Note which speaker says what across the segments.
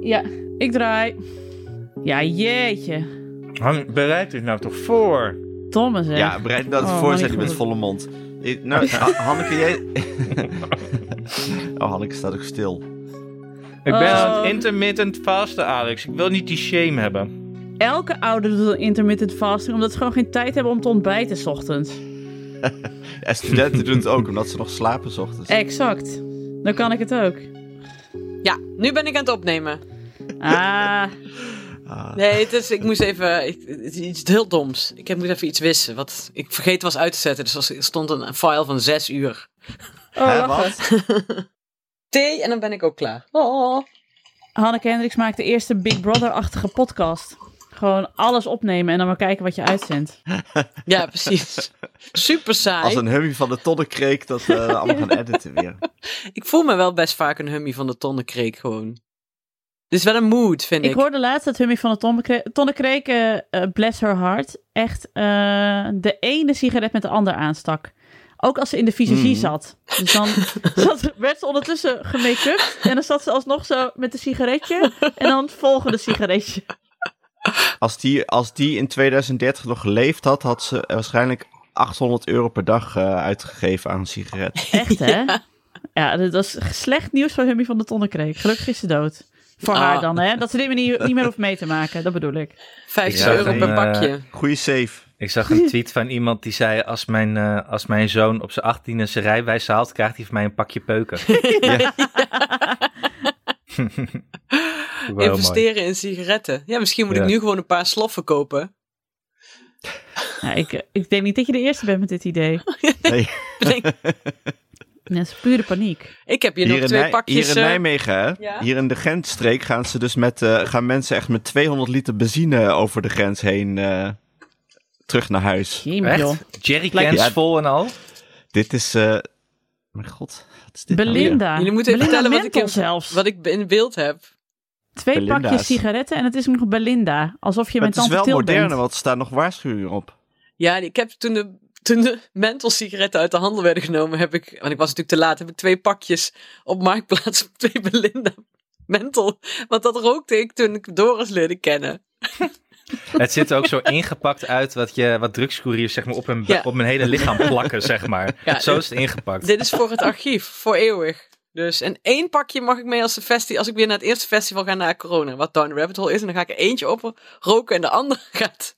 Speaker 1: Ja, ik draai. Ja, jeetje.
Speaker 2: Hang, bereid dit nou toch voor?
Speaker 1: Domme zeg.
Speaker 3: Ja, bereid dat
Speaker 1: Oh,
Speaker 3: voor, zegt
Speaker 1: Hanneke
Speaker 3: hij met
Speaker 1: vond
Speaker 3: volle mond. Ik- Nou, Ha- Hanneke, jij... oh, Hanneke staat ook stil.
Speaker 2: Ik ben
Speaker 1: Oh.
Speaker 2: aan het intermittent fasten, Alex. Ik wil niet die shame hebben.
Speaker 1: Elke ouder doet een intermittent fasting omdat ze gewoon geen tijd hebben om te ontbijten 's ochtends.
Speaker 3: En studenten doen het ook, omdat ze nog slapen 's ochtends.
Speaker 1: Exact. Dan kan ik het ook.
Speaker 4: Ja, nu ben ik aan het opnemen.
Speaker 1: Ah,
Speaker 4: Nee, het is, ik moest even. Ik, het is iets heel doms. Ik heb, moet even iets wissen. Wat ik vergeten was uit te zetten. Dus als- er stond een file van zes uur.
Speaker 3: Hè,
Speaker 1: oh, wacht.
Speaker 3: wat?
Speaker 4: Thee en dan ben ik ook klaar. Oh.
Speaker 1: Hanneke Hendricks maakt de eerste Big Brother-achtige podcast. Gewoon alles opnemen en dan maar kijken wat je uitzendt.
Speaker 4: Ja, precies. Super saai.
Speaker 3: Als een hummy van de tonnekreek dat eh, we allemaal gaan editen weer.
Speaker 4: Ik voel me wel best vaak een hummy van de tonnenkreek gewoon. Dit is wel een mood, vind ik.
Speaker 1: Ik hoorde laatst dat Hummy van de Tonne- Tonnekreek, eh eh, bless her heart, echt eh, de ene sigaret met de ander aanstak. Ook als ze in de visagie
Speaker 3: Mhm.
Speaker 1: zat. Dus dan zat, werd ze ondertussen gemake-up en dan zat ze alsnog zo met een sigaretje en dan het volgende sigaretje.
Speaker 3: Als die, als die in 2030 nog geleefd had, had ze waarschijnlijk 800 euro per dag eh, uitgegeven aan een sigaret.
Speaker 1: Echt, hè? Ja, dat was slecht nieuws voor Hummy van de Tonnekreek. Gelukkig is ze dood. Voor
Speaker 4: Ah.
Speaker 1: haar dan, hè? Dat ze dit niet, niet meer hoeft mee te maken, dat bedoel ik.
Speaker 4: 50
Speaker 2: Ik zag
Speaker 4: euro
Speaker 2: een,
Speaker 4: per
Speaker 2: eh,
Speaker 4: pakje.
Speaker 3: Goeie save.
Speaker 2: Ik zag een tweet van iemand die zei... als mijn, eh, als mijn zoon op zijn achttiende zijn rijwijs haalt... krijgt hij van mij een pakje peuken. Wel mooi.
Speaker 4: Investeren in sigaretten. Ja, misschien moet
Speaker 2: Ja.
Speaker 4: ik nu gewoon een paar sloffen kopen.
Speaker 1: Nou, ik, ik denk niet dat je de eerste bent met dit idee.
Speaker 3: Nee.
Speaker 4: Bedenk-
Speaker 1: Dat is pure paniek.
Speaker 4: ik heb hier,
Speaker 3: Hier
Speaker 4: nog
Speaker 3: in,
Speaker 4: twee
Speaker 3: Nij-
Speaker 4: pakjes.
Speaker 3: hier in
Speaker 4: eh,
Speaker 3: Nijmegen, hè?
Speaker 4: ja?
Speaker 3: hier in de Gentstreek, gaan, ze dus met, eh, gaan mensen echt met 200 liter benzine over de grens heen eh, terug naar huis.
Speaker 1: Jemig,
Speaker 3: oh
Speaker 1: joh.
Speaker 2: Echt? Jerrycans
Speaker 3: Ja.
Speaker 2: vol en al?
Speaker 3: Dit is. eh, Mijn god, wat is dit? nou weer?
Speaker 1: Belinda.
Speaker 4: Jullie moeten even
Speaker 1: Belinda
Speaker 4: vertellen wat ik,
Speaker 1: Mentel
Speaker 4: in,
Speaker 1: zelfs.
Speaker 4: wat ik in beeld heb.
Speaker 1: Twee
Speaker 3: Belinda's.
Speaker 1: pakjes sigaretten en het is nog Belinda. Alsof je
Speaker 3: Maar
Speaker 1: met
Speaker 3: het is
Speaker 1: tante
Speaker 3: wel
Speaker 1: Til
Speaker 3: moderne,
Speaker 1: bent.
Speaker 3: want er staan nog waarschuwingen op.
Speaker 4: Ja, ik heb toen de, toen de menthol sigaretten uit de handel werden genomen, heb ik, want ik was natuurlijk te laat, heb ik twee pakjes op Marktplaats op twee Belinda menthol. Want dat rookte ik toen ik Doris leerde kennen.
Speaker 2: Het ziet er ook zo ingepakt uit wat, je, wat drugscouriers zeg maar, op, hun,
Speaker 4: Ja.
Speaker 2: op mijn hele lichaam plakken, zeg maar.
Speaker 4: Ja,
Speaker 2: zo is het ingepakt.
Speaker 4: Dit is voor het archief, voor eeuwig. Dus, en één pakje mag ik mee als, de festi als ik weer naar het eerste festival ga na corona, wat Down the Rabbit Hole is. En dan ga ik er eentje op roken en de andere gaat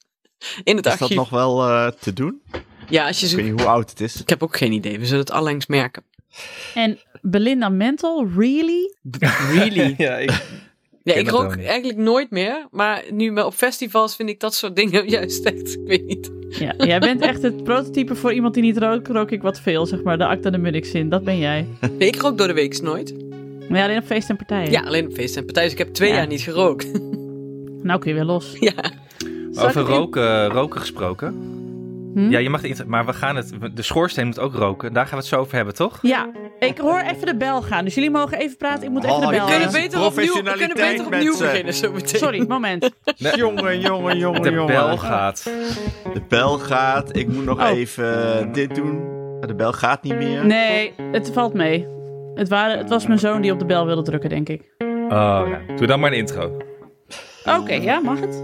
Speaker 4: in het
Speaker 3: Is dat
Speaker 4: archief.
Speaker 3: nog wel eh, te doen?
Speaker 4: Ja, als je
Speaker 3: Ik weet
Speaker 4: zoekt.
Speaker 3: niet hoe oud het is.
Speaker 4: Ik heb ook geen idee, we zullen het allengs merken.
Speaker 1: En Belinda Mental, really?
Speaker 4: Really?
Speaker 2: Ja, ik-
Speaker 4: Ja,
Speaker 2: ken
Speaker 4: ik
Speaker 2: dat wel
Speaker 4: rook
Speaker 2: niet.
Speaker 4: eigenlijk nooit meer. Maar nu me- op festivals vind ik dat soort dingen juist echt. Ik weet niet.
Speaker 1: Ja, jij bent echt het prototype voor iemand die niet rookt. Rook ik wat veel, zeg maar. De acta de Munich zin, dat ben jij.
Speaker 4: Nee, ik rook door de week nooit.
Speaker 1: Maar ja, alleen op feesten en partijen.
Speaker 4: Ja, alleen op feesten en partijen. Dus ik heb twee
Speaker 1: Ja.
Speaker 4: jaar niet gerookt.
Speaker 1: Nou kun je weer los.
Speaker 4: Ja.
Speaker 1: Zal ik
Speaker 2: Over
Speaker 1: het in-
Speaker 2: roken, roken gesproken.
Speaker 1: Hm?
Speaker 2: Ja, je mag het inter- maar we gaan het, de schoorsteen moet ook roken. Daar gaan we het zo over hebben, toch?
Speaker 1: Ja, ik hoor even de bel gaan. Dus jullie mogen even praten. Ik moet even
Speaker 3: Oh,
Speaker 1: de
Speaker 3: je
Speaker 1: bel
Speaker 4: We kunnen
Speaker 3: Alleen
Speaker 1: gaan.
Speaker 4: beter opnieuw, we kunnen beter
Speaker 3: professionaliteit,
Speaker 4: opnieuw
Speaker 3: mensen.
Speaker 4: beginnen zo meteen.
Speaker 1: Sorry, moment.
Speaker 3: Jongen, jongen, jongen,
Speaker 2: De
Speaker 3: jongen.
Speaker 2: bel gaat.
Speaker 3: De bel gaat. Ik moet nog
Speaker 1: Oh.
Speaker 3: even eh, dit doen. De bel gaat niet meer.
Speaker 1: Nee, het valt mee. Het, waren, het was mijn zoon die op de bel wilde drukken, denk ik.
Speaker 2: Oh, ja. Doe dan maar een intro.
Speaker 1: Oké, ja, mag het?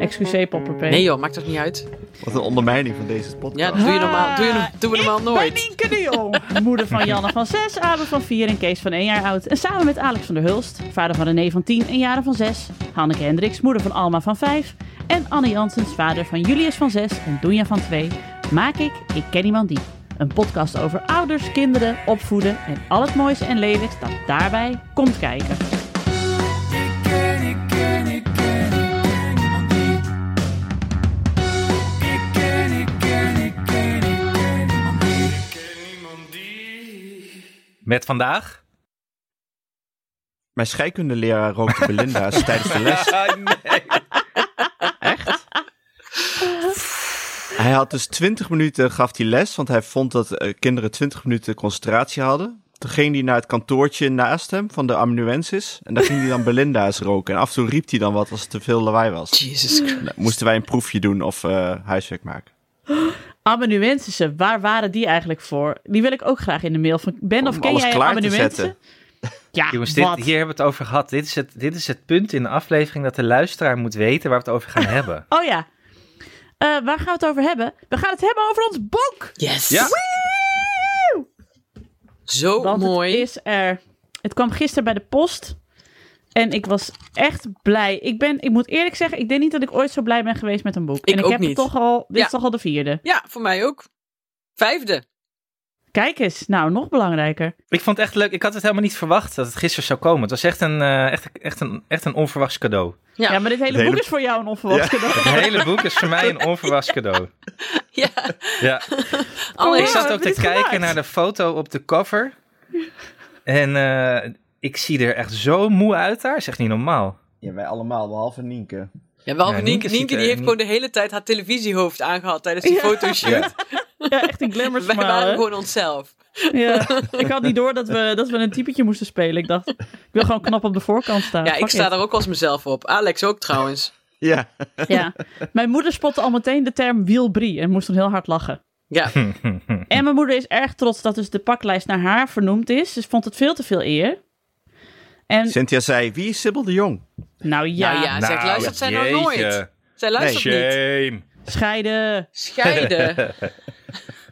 Speaker 1: Excuseer, Popperpee.
Speaker 4: Nee joh, maakt toch niet uit.
Speaker 3: Wat een ondermijning van deze
Speaker 4: Ja,
Speaker 3: podcast.
Speaker 4: dat doe je normaal, doe je, no- doen we normaal
Speaker 1: Ah. Ben
Speaker 4: nooit.
Speaker 1: Nienke de Jong, moeder van Janne van 6, Abe van 4 en Kees van 1 jaar oud. En samen met Alex van der Hulst, vader van René van 10 en Jaren van 6. Hanneke Hendricks, moeder van Alma van 5. En Anne Jansens, vader van Julius van 6 en Doenja van 2. Maak ik Ik Ken Iemand Die. Een podcast over ouders, kinderen, opvoeden en al het moois en lelijks dat daarbij komt kijken.
Speaker 2: Met vandaag?
Speaker 3: Mijn scheikundeleraar rookte Belinda's tijdens de les.
Speaker 2: Ah, nee.
Speaker 3: Hij had dus 20 minuten, gaf hij les, want hij vond dat eh, kinderen 20 minuten concentratie hadden. Toen ging hij naar het kantoortje naast hem van de amanuensis. En daar ging hij dan Belinda's roken. En af en toe riep hij dan wat als het te veel lawaai was.
Speaker 4: Jesus Christ.
Speaker 3: Nou, moesten wij een proefje doen of eh, huiswerk maken.
Speaker 1: Amanuensissen, waar waren die eigenlijk voor? Die wil ik ook graag in de mail van Ben of
Speaker 3: Om
Speaker 1: ken
Speaker 3: alles
Speaker 1: jij
Speaker 3: klaar te
Speaker 1: amanuensissen? Ja,
Speaker 2: Jongens, dit,
Speaker 1: wat?
Speaker 2: hier hebben we het over gehad. Dit is het, dit is het punt in de aflevering dat de luisteraar moet weten waar we het over gaan hebben.
Speaker 1: Oh ja. Eh, waar gaan we het over hebben? We gaan het hebben over ons boek.
Speaker 4: Yes.
Speaker 2: Ja.
Speaker 4: Zo
Speaker 1: Want
Speaker 4: Oh, mooi.
Speaker 1: het is er. Het kwam gisteren bij de post. En ik was echt blij. Ik, ben, ik moet eerlijk zeggen, ik denk niet dat ik ooit zo blij ben geweest met een boek.
Speaker 4: Ik
Speaker 1: en ik
Speaker 4: ook
Speaker 1: heb
Speaker 4: niet.
Speaker 1: Het toch al, dit
Speaker 4: Ja.
Speaker 1: is toch al de vierde.
Speaker 4: Ja, voor mij ook. Vijfde.
Speaker 1: Kijk eens, nou nog belangrijker.
Speaker 2: Ik vond het echt leuk. Ik had het helemaal niet verwacht dat het gisteren zou komen. Het was echt een, eh, echt, echt een, echt een onverwachts cadeau.
Speaker 1: Ja,
Speaker 4: Ja.
Speaker 1: maar dit hele
Speaker 3: Het hele-
Speaker 1: boek is voor jou een onverwachts cadeau.
Speaker 2: Het hele boek is voor mij een onverwachts cadeau.
Speaker 4: Ja.
Speaker 2: Ja.
Speaker 4: Alle
Speaker 1: ja.
Speaker 2: ik zat ook
Speaker 1: hebben
Speaker 2: te
Speaker 1: dit
Speaker 2: kijken
Speaker 1: gemaakt.
Speaker 2: naar de foto op de cover. En eh, ik zie er echt zo moe uit daar. Is echt niet normaal.
Speaker 3: Ja, wij allemaal, behalve Nienke.
Speaker 4: Ja, behalve
Speaker 2: Ja, Nienke
Speaker 4: Nienke.
Speaker 2: ziet
Speaker 4: Nienke
Speaker 2: er
Speaker 4: die heeft
Speaker 2: niet-
Speaker 4: gewoon de hele tijd haar televisiehoofd aangehad tijdens die
Speaker 1: Ja.
Speaker 4: fotoshoot.
Speaker 1: Ja, echt een glamour
Speaker 4: Wij waren
Speaker 1: smile.
Speaker 4: gewoon onszelf.
Speaker 1: hè? Ja. Ik had niet door dat we, dat we een typetje moesten spelen. Ik dacht, ik wil gewoon knap op de voorkant staan.
Speaker 4: Ja, ik
Speaker 1: Eh, Fuck
Speaker 4: sta
Speaker 1: it.
Speaker 4: daar ook als mezelf op. Alex ook trouwens.
Speaker 3: Ja.
Speaker 1: Ja. Mijn moeder spotte al meteen de term wielbrie en moest dan heel hard lachen.
Speaker 4: Ja,
Speaker 2: Nou,
Speaker 1: En mijn moeder is erg trots dat dus de paklijst naar haar vernoemd is. Ze vond het veel te veel eer. En,
Speaker 3: Cynthia zei, wie is Sibyl de Jong?
Speaker 1: nou ja,
Speaker 4: Nou ja. zeg, luistert zij nou
Speaker 2: jeetje.
Speaker 4: nooit? zij luistert niet.
Speaker 2: Shame.
Speaker 1: scheiden.
Speaker 4: Scheiden.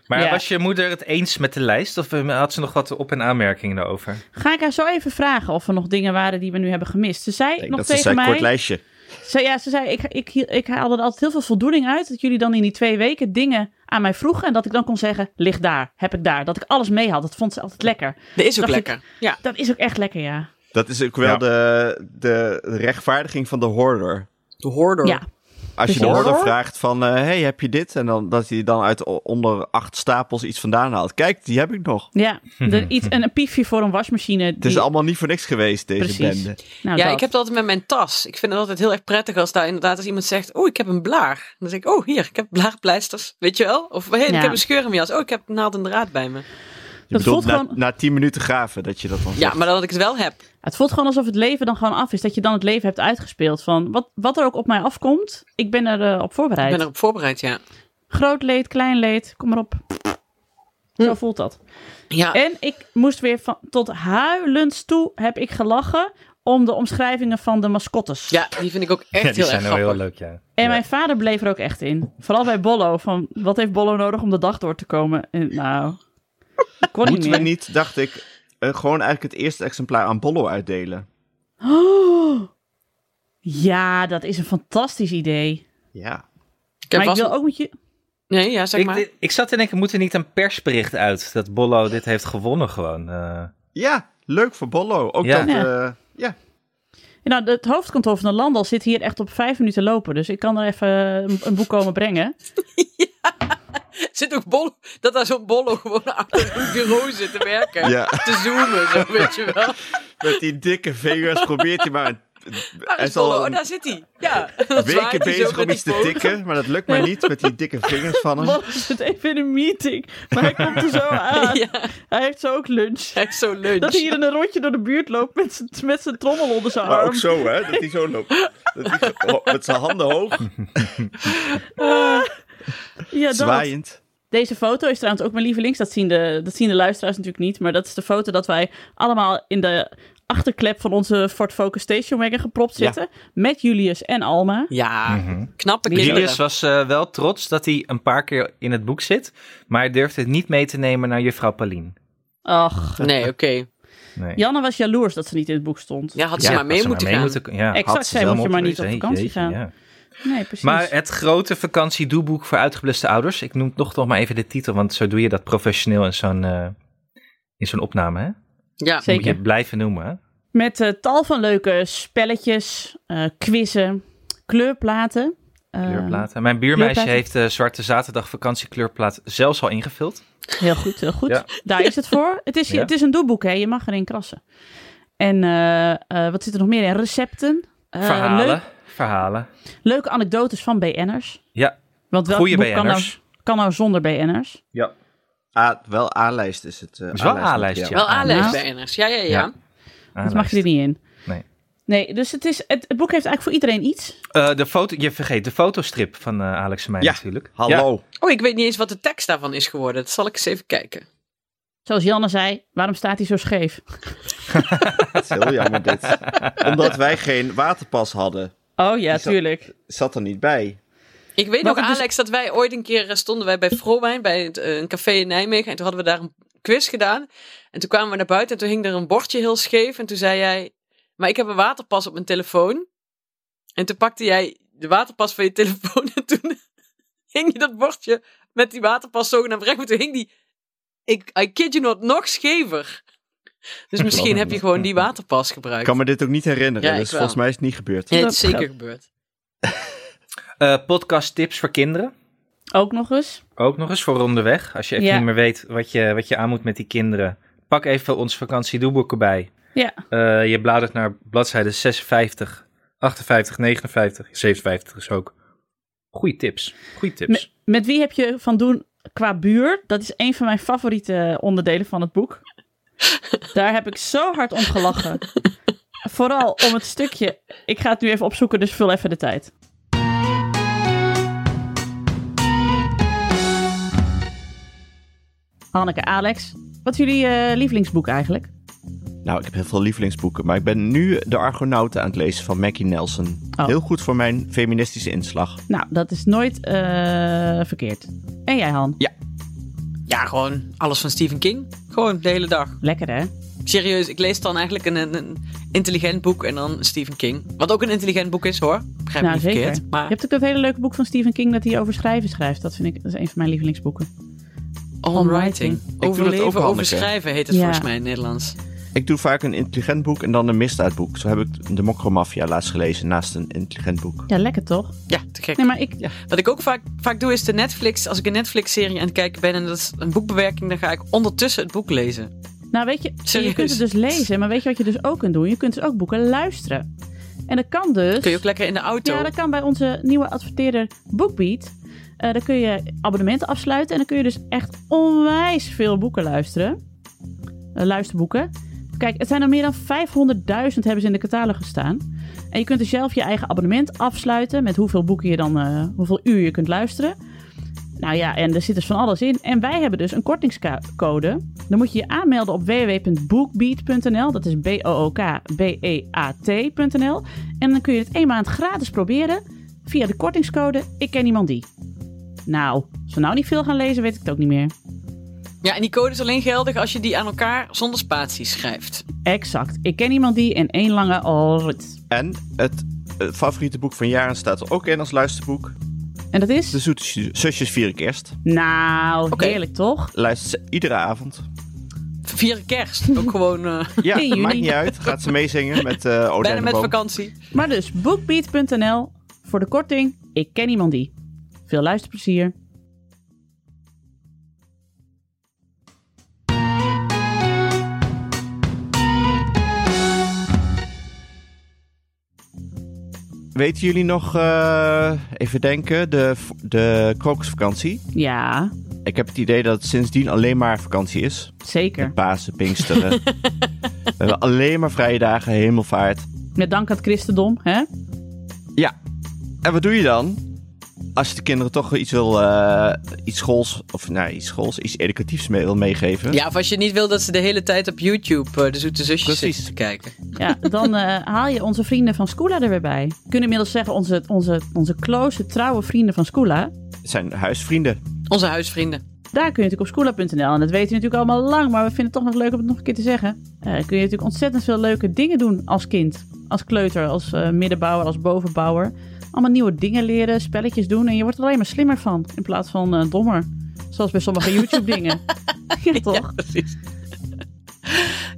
Speaker 2: Maar
Speaker 1: Ja.
Speaker 2: was je moeder het eens met de lijst? Of eh, had ze nog wat op- en aanmerkingen daarover?
Speaker 1: Ga ik haar zo even vragen of er nog dingen waren die we nu hebben gemist. Ze zei
Speaker 3: Ik denk
Speaker 1: nog
Speaker 3: dat ze
Speaker 1: tegen
Speaker 3: zei,
Speaker 1: mij...
Speaker 3: kort lijstje.
Speaker 1: Ze, ja, ze zei, ik, ik, ik haalde er altijd heel veel voldoening uit dat jullie dan in die twee weken dingen aan mij vroegen. En dat ik dan kon zeggen, ligt daar, heb ik daar. Dat ik alles mee had, dat vond ze altijd lekker.
Speaker 4: Dat is ook
Speaker 1: Dacht ik-
Speaker 4: lekker. Ja.
Speaker 1: Dat is ook echt lekker, ja.
Speaker 3: Dat is ook wel
Speaker 2: Ja.
Speaker 3: de, de rechtvaardiging van de hoorder.
Speaker 4: De hoorder.
Speaker 1: Ja,
Speaker 3: Als je de
Speaker 2: Precies.
Speaker 3: hoorder vraagt van, eh, hey, heb je dit? En dan, dat hij dan uit o- onder acht stapels iets vandaan haalt. Kijk, die heb ik nog.
Speaker 1: ja.
Speaker 4: Mhm.
Speaker 1: Er, iets, een, een piefje voor een wasmachine.
Speaker 3: Het is
Speaker 1: die-
Speaker 3: allemaal niet voor niks geweest, deze
Speaker 1: Precies.
Speaker 3: bende.
Speaker 1: nou,
Speaker 4: Ja,
Speaker 1: dat.
Speaker 4: ik heb dat altijd met mijn tas. Ik vind het altijd heel erg prettig als daar inderdaad als iemand zegt, oh, ik heb een blaar. Dan zeg ik, oh, hier, ik heb blaarpleisters. Weet je wel? Of, hey,
Speaker 1: Ja.
Speaker 4: ik heb een scheur in mijn jas. Oh, ik heb naald en draad bij me.
Speaker 3: Je
Speaker 1: Dat
Speaker 3: bedoelt
Speaker 1: voelt
Speaker 3: na,
Speaker 1: gewoon-
Speaker 3: na tien minuten graven dat je dat dan
Speaker 4: Ja,
Speaker 3: zegt.
Speaker 4: maar dat ik het wel heb.
Speaker 1: Het voelt gewoon alsof het leven dan gewoon af is. Dat je dan het leven hebt uitgespeeld. Van wat, wat er ook op mij afkomt, ik ben er eh, op
Speaker 4: Ik
Speaker 1: voorbereid.
Speaker 4: ben erop voorbereid, ja.
Speaker 1: Groot leed, klein leed, kom maar op.
Speaker 3: Hm.
Speaker 1: Zo voelt dat.
Speaker 4: Ja,
Speaker 1: En ik moest weer van, tot huilend toe heb ik gelachen om de omschrijvingen van de mascottes.
Speaker 4: ja die vind ik ook echt
Speaker 2: Ja, die
Speaker 4: heel
Speaker 2: zijn
Speaker 4: erg
Speaker 2: wel
Speaker 4: grappig.
Speaker 2: heel leuk, ja.
Speaker 1: En
Speaker 2: Ja.
Speaker 1: mijn vader bleef er ook echt in. Vooral bij Bollo. Van, wat heeft Bollo nodig om de dag door te komen? En, nou, dat kon niet
Speaker 3: Moeten we
Speaker 1: meer.
Speaker 3: niet, dacht ik, eh, gewoon eigenlijk het eerste exemplaar aan Bollo uitdelen?
Speaker 1: Oh. ja, dat is een fantastisch idee.
Speaker 3: Ja.
Speaker 4: Ik heb
Speaker 1: maar ik
Speaker 4: vast-
Speaker 1: wil ook met je...
Speaker 4: Nee, ja, zeg
Speaker 2: Ik,
Speaker 4: maar.
Speaker 2: ik- ik zat te denken, moet er niet een persbericht uit dat Bollo dit heeft gewonnen gewoon? eh?
Speaker 3: Ja, leuk voor Bollo. Ook
Speaker 2: Ja.
Speaker 3: dat,
Speaker 1: Ja.
Speaker 3: eh, ja.
Speaker 1: Nou, het hoofdkantoor van de Landal zit hier echt op vijf minuten lopen. Dus ik kan er even een, een boek komen brengen.
Speaker 4: Zit ook bol, dat daar zo'n bollo gewoon achter een bureau zit te werken.
Speaker 3: Ja.
Speaker 4: Te zoomen, zo, weet je wel.
Speaker 3: Met die dikke vingers probeert hij maar... een-
Speaker 4: Waar
Speaker 3: Hij
Speaker 4: is
Speaker 3: is al
Speaker 4: bollo? Oh,
Speaker 3: een
Speaker 4: daar zit hij. Ja. Dat
Speaker 3: weken
Speaker 4: zwaait hij zo
Speaker 3: bezig
Speaker 4: met
Speaker 3: om
Speaker 4: die
Speaker 3: iets te
Speaker 4: boot.
Speaker 3: tikken, maar dat lukt maar niet met die dikke vingers van hem.
Speaker 1: Wat is het even in een meeting? Maar hij komt er zo aan.
Speaker 4: Ja,
Speaker 1: Hij heeft zo ook lunch.
Speaker 4: echt zo leuk.
Speaker 1: Dat hij hier in een rondje door de buurt loopt met zijn, met zijn trommel onder zijn
Speaker 3: Maar
Speaker 1: arm.
Speaker 3: ook zo, hè? Dat hij zo loopt. Dat hij zo- oh, met zijn handen hoog,
Speaker 1: Ja, dat.
Speaker 3: zwaaiend.
Speaker 1: Deze foto is trouwens ook mijn lievelings. Dat zien, de, dat zien de luisteraars natuurlijk niet. Maar dat is de foto dat wij allemaal in de achterklep van onze Ford Focus Station Wagon gepropt
Speaker 3: Ja.
Speaker 1: zitten. Met Julius en Alma.
Speaker 4: Ja,
Speaker 2: Mhm.
Speaker 4: knappe kinderen.
Speaker 2: Julius was eh, wel trots dat hij een paar keer in het boek zit, maar hij durfde het niet mee te nemen naar juffrouw Paulien.
Speaker 1: Ach.
Speaker 4: Nee, oké.
Speaker 2: Nee.
Speaker 1: Janne was jaloers dat ze niet in het boek stond.
Speaker 4: Ja, had ze
Speaker 2: Ja,
Speaker 4: maar mee
Speaker 2: had ze
Speaker 4: moeten
Speaker 2: maar
Speaker 4: gaan.
Speaker 2: ja,
Speaker 1: Exact,
Speaker 2: had ze
Speaker 1: zij
Speaker 2: zelf
Speaker 1: moet je maar niet
Speaker 2: geweest,
Speaker 1: op
Speaker 2: hè?
Speaker 1: vakantie gaan.
Speaker 2: ja.
Speaker 1: Nee, precies.
Speaker 2: Maar eh, het grote vakantiedoeboek voor uitgebluste ouders, ik noem toch nog maar even de titel, want zo doe je dat professioneel in zo'n eh, in zo'n opname, hè?
Speaker 4: Ja,
Speaker 2: Moet je
Speaker 1: Zeker.
Speaker 2: het blijven noemen, hè?
Speaker 1: Met eh, tal van leuke spelletjes, eh, quizzen, kleurplaten. Eh,
Speaker 2: Kleurplaten. Mijn buurmeisje
Speaker 1: kleurplaten.
Speaker 2: heeft de Zwarte Zaterdag vakantiekleurplaat zelfs al ingevuld.
Speaker 1: Heel goed, heel goed.
Speaker 2: Ja.
Speaker 1: Daar is het voor. Het is,
Speaker 2: Ja.
Speaker 1: het is een doeboek, hè? Je mag erin krassen. En eh, eh, wat zit er nog meer in? Recepten. eh,
Speaker 2: Verhalen,
Speaker 1: leuk-
Speaker 2: verhalen.
Speaker 1: leuke anekdotes van BN'ers.
Speaker 2: Ja,
Speaker 1: Want welk
Speaker 2: Goeie Ah,
Speaker 1: boek kan nou,
Speaker 2: BN'ers.
Speaker 1: kan nou zonder BN'ers?
Speaker 2: ja.
Speaker 3: A, Ah, wel A-lijst is het. eh,
Speaker 2: is wel
Speaker 3: A-lijst
Speaker 2: A-lijst,
Speaker 3: materiaal.
Speaker 4: wel
Speaker 2: Ja,
Speaker 4: aanlees
Speaker 1: nou.
Speaker 4: bij NRS. Ja, ja, ja.
Speaker 2: Ja. Ah,
Speaker 1: Dus mag je er niet in.
Speaker 2: Nee.
Speaker 1: Nee, dus het, is, het, het boek heeft eigenlijk voor iedereen iets.
Speaker 2: Eh, de foto, je vergeet de fotostrip van eh, Alex en mij
Speaker 3: Ja,
Speaker 2: natuurlijk.
Speaker 3: Hallo.
Speaker 4: Oh, ik weet niet eens wat de tekst daarvan is geworden. Dat zal ik eens even kijken.
Speaker 1: Zoals Janne zei, waarom staat hij zo scheef?
Speaker 3: Het is heel jammer dit. Omdat wij geen waterpas hadden.
Speaker 1: Oh ja,
Speaker 3: Is dat-
Speaker 1: tuurlijk.
Speaker 3: Zat er niet bij.
Speaker 4: Ik weet
Speaker 1: Maar
Speaker 4: nog,
Speaker 1: goed, dus-
Speaker 4: Alex, dat wij ooit een keer eh, stonden wij bij Vrowijn, bij het, eh, een café in Nijmegen. En toen hadden we daar een quiz gedaan. En toen kwamen we naar buiten en toen hing er een bordje heel scheef. En toen zei jij, maar ik heb een waterpas op mijn telefoon. En toen pakte jij de waterpas van je telefoon. En toen hing je dat bordje met die waterpas zogenaamd recht. Maar toen hing die, ik, I kid you not, nog schever. Dus misschien heb je gewoon die waterpas
Speaker 3: Ik
Speaker 4: gebruikt.
Speaker 3: kan me dit ook niet herinneren,
Speaker 4: Ja, ik
Speaker 3: dus
Speaker 4: wel.
Speaker 3: volgens mij is het niet gebeurd.
Speaker 4: Ja, het
Speaker 1: Dat
Speaker 4: is zeker
Speaker 1: gaat-
Speaker 4: gebeurd.
Speaker 2: Eh, podcast tips voor kinderen.
Speaker 1: Ook nog eens.
Speaker 2: Ook nog eens voor onderweg. Als je even
Speaker 1: Ja.
Speaker 2: niet meer weet wat je, wat je aan moet met die kinderen. Pak even ons vakantiedoelboek erbij.
Speaker 1: Ja.
Speaker 2: Eh, je bladert naar bladzijde 56, 58, 59, 57 is ook. Goeie tips. Goeie tips.
Speaker 1: Met, met wie heb je van doen qua buur? Dat is een van mijn favoriete onderdelen van het boek. Daar heb ik zo hard om gelachen. Vooral om het stukje. Ik ga het nu even opzoeken, dus vul even de tijd. Hanneke, Alex, wat is jullie eh, lievelingsboek eigenlijk?
Speaker 3: Nou, ik heb heel veel lievelingsboeken, maar ik ben nu De Argonauten aan het lezen van Mackie Nelson.
Speaker 1: Oh.
Speaker 3: Heel goed voor mijn feministische inslag.
Speaker 1: Nou, dat is nooit eh, verkeerd. En jij, Han?
Speaker 4: Ja, gewoon alles van Stephen King. Gewoon de hele dag.
Speaker 1: Lekker, hè?
Speaker 4: Serieus, ik lees dan eigenlijk een, een, een intelligent boek en dan Stephen King. Wat ook een intelligent boek is hoor. Begrijp me
Speaker 1: nou,
Speaker 4: niet
Speaker 1: zeker.
Speaker 4: verkeerd. Maar
Speaker 1: Je hebt ook dat hele leuke boek van Stephen King dat hij over schrijven schrijft. Dat vind ik dat is een van mijn lievelingsboeken.
Speaker 4: on writing.
Speaker 3: dat ook,
Speaker 4: Overleven,
Speaker 3: Hanneke.
Speaker 4: overschrijven heet het
Speaker 1: Ja.
Speaker 4: volgens mij in het Nederlands.
Speaker 3: Ik doe vaak een intelligent boek en dan een misdaadboek. Zo heb ik De Mokromafia laatst gelezen naast een intelligent boek.
Speaker 1: Ja, lekker toch?
Speaker 4: Ja, te gek.
Speaker 1: Nee, maar ik...
Speaker 4: Wat ik ook vaak, vaak doe is de Netflix. Als ik een Netflix-serie aan het kijken ben en dat is een boekbewerking, dan ga ik ondertussen het boek lezen.
Speaker 1: Nou, weet je, je
Speaker 4: Serieus?
Speaker 1: kunt het dus lezen, maar weet je wat je dus ook kunt doen? Je kunt dus ook boeken luisteren. En dat kan dus...
Speaker 4: Kun je ook lekker in de auto.
Speaker 1: Ja, dat kan bij onze nieuwe adverteerder BookBeat. Eh dan kun je abonnementen afsluiten en dan kun je dus echt onwijs veel boeken luisteren. Eh, luisterboeken. Kijk, het zijn er meer dan 500.000 hebben ze in de catalogus staan. En je kunt dus zelf je eigen abonnement afsluiten met hoeveel boeken je dan, eh, hoeveel uur je kunt luisteren. Nou ja, en er zit dus van alles in. En wij hebben dus een kortingscode. Dan moet je je aanmelden op www.bookbeat.nl. Dat is E B-O-O-K-B-E-A-T.nl. En dan kun je het één maand gratis proberen via de kortingscode Ik ken iemand die. Nou, als we nou niet veel gaan lezen, weet ik het ook niet meer.
Speaker 4: Ja, en die code is alleen geldig als je die aan elkaar zonder spaties schrijft.
Speaker 1: Exact. Ik ken iemand die en één lange alrit.
Speaker 3: En het eh, favoriete boek van Jaren staat er ook in als luisterboek.
Speaker 1: En dat is?
Speaker 3: De Zoete Su- Zusjes vier ik eerst.
Speaker 1: Nou,
Speaker 4: Oké.
Speaker 1: heerlijk toch?
Speaker 3: Luistert ze iedere avond.
Speaker 4: Vieren kerst. Ook gewoon eh,
Speaker 3: Ja,
Speaker 1: In juni.
Speaker 3: maakt niet uit. Gaat ze meezingen met eh Oda
Speaker 4: bijna
Speaker 3: en de
Speaker 4: met
Speaker 3: Boom.
Speaker 4: vakantie.
Speaker 1: Maar dus bookbeat.nl voor de korting Ik ken iemand die. Veel luisterplezier.
Speaker 3: Weten jullie nog, eh, even denken, de, de krokusvakantie?
Speaker 1: Ja,
Speaker 3: Ik heb het idee dat het sindsdien alleen maar vakantie is.
Speaker 1: zeker.
Speaker 3: Pasen, Pinksteren. We hebben alleen maar vrije dagen, hemelvaart.
Speaker 1: Met dank aan het christendom, hè?
Speaker 3: Ja. En wat doe je dan? Als je de kinderen toch iets wil, eh, iets schools, of nou, iets schools, iets educatiefs mee wil meegeven.
Speaker 4: Ja, of als je niet wil dat ze de hele tijd op YouTube eh, de zoete zusjes
Speaker 3: Precies.
Speaker 4: zitten te kijken.
Speaker 1: Ja, dan eh, haal je onze vrienden van Scoola er weer bij. We kunnen inmiddels zeggen, onze, onze, onze close, trouwe vrienden van Scoola.
Speaker 3: Het zijn huisvrienden.
Speaker 4: Onze huisvrienden.
Speaker 1: Daar kun je natuurlijk op schoola.nl, en dat weten we natuurlijk allemaal lang, maar we vinden het toch nog leuk om het nog een keer te zeggen. Eh, kun je natuurlijk ontzettend veel leuke dingen doen als kind. Als kleuter, als eh, middenbouwer, als bovenbouwer. Allemaal nieuwe dingen leren, spelletjes doen en je wordt er alleen maar slimmer van in plaats van eh, dommer. Zoals bij sommige YouTube-dingen. ja, toch?
Speaker 4: Precies.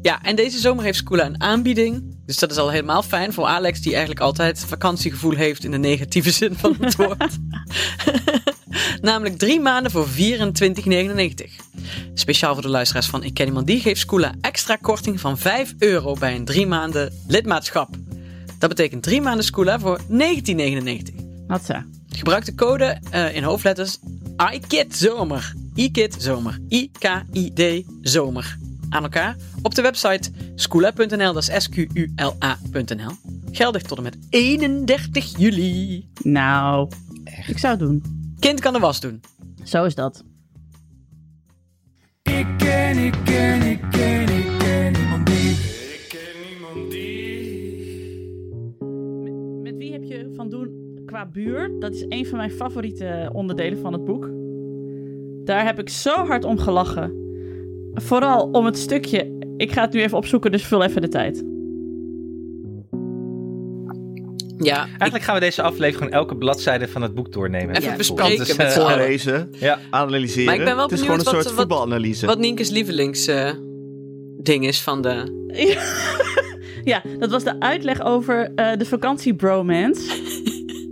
Speaker 4: Ja, en deze zomer heeft Skoola een aanbieding. Dus dat is al helemaal fijn voor Alex, die eigenlijk altijd vakantiegevoel heeft in de negatieve zin van het woord. Namelijk drie maanden voor 24,99. Speciaal voor de luisteraars van Ik Ken Iemand Die geeft Skoola extra korting van 5 euro bij een drie maanden lidmaatschap. Dat betekent drie maanden Skoola voor 19,99.
Speaker 1: Hatsa.
Speaker 4: Gebruik de code eh, in hoofdletters IKID Zomer. IKID Zomer. I-K-I-D Zomer. Aan elkaar op de website skoola.nl, dat is S-Q-U-L-A.nl. Geldig tot en met 31 juli.
Speaker 1: Nou, ik zou het doen.
Speaker 4: Kind kan de was doen.
Speaker 1: Zo is dat.
Speaker 5: Ik ik ken, ik ken, ik ken, ik ken niemand die. Ik ken niemand die.
Speaker 1: Met wie heb je van doen qua buur? Dat is een van mijn favoriete eh, onderdelen van het boek. Daar heb ik zo hard om gelachen. Vooral om het stukje. Ik ga het nu even opzoeken, dus vul even de tijd.
Speaker 4: Ja, ik,
Speaker 2: Eigenlijk gaan we deze aflevering gewoon elke bladzijde van het boek doornemen.
Speaker 4: Even
Speaker 2: Ja,
Speaker 4: bespreken
Speaker 2: want het is,
Speaker 4: met
Speaker 2: eh,
Speaker 4: z'n allen.
Speaker 3: Voorlezen,
Speaker 2: Ja.
Speaker 3: analyseren.
Speaker 4: Maar ik ben wel
Speaker 3: het is gewoon
Speaker 4: benieuwd
Speaker 3: een soort
Speaker 4: wat- wat-
Speaker 3: voetbalanalyse.
Speaker 4: wat Nienke's lievelings eh, ding is van de...
Speaker 1: Ja, dat was de uitleg over eh de vakantiebromance.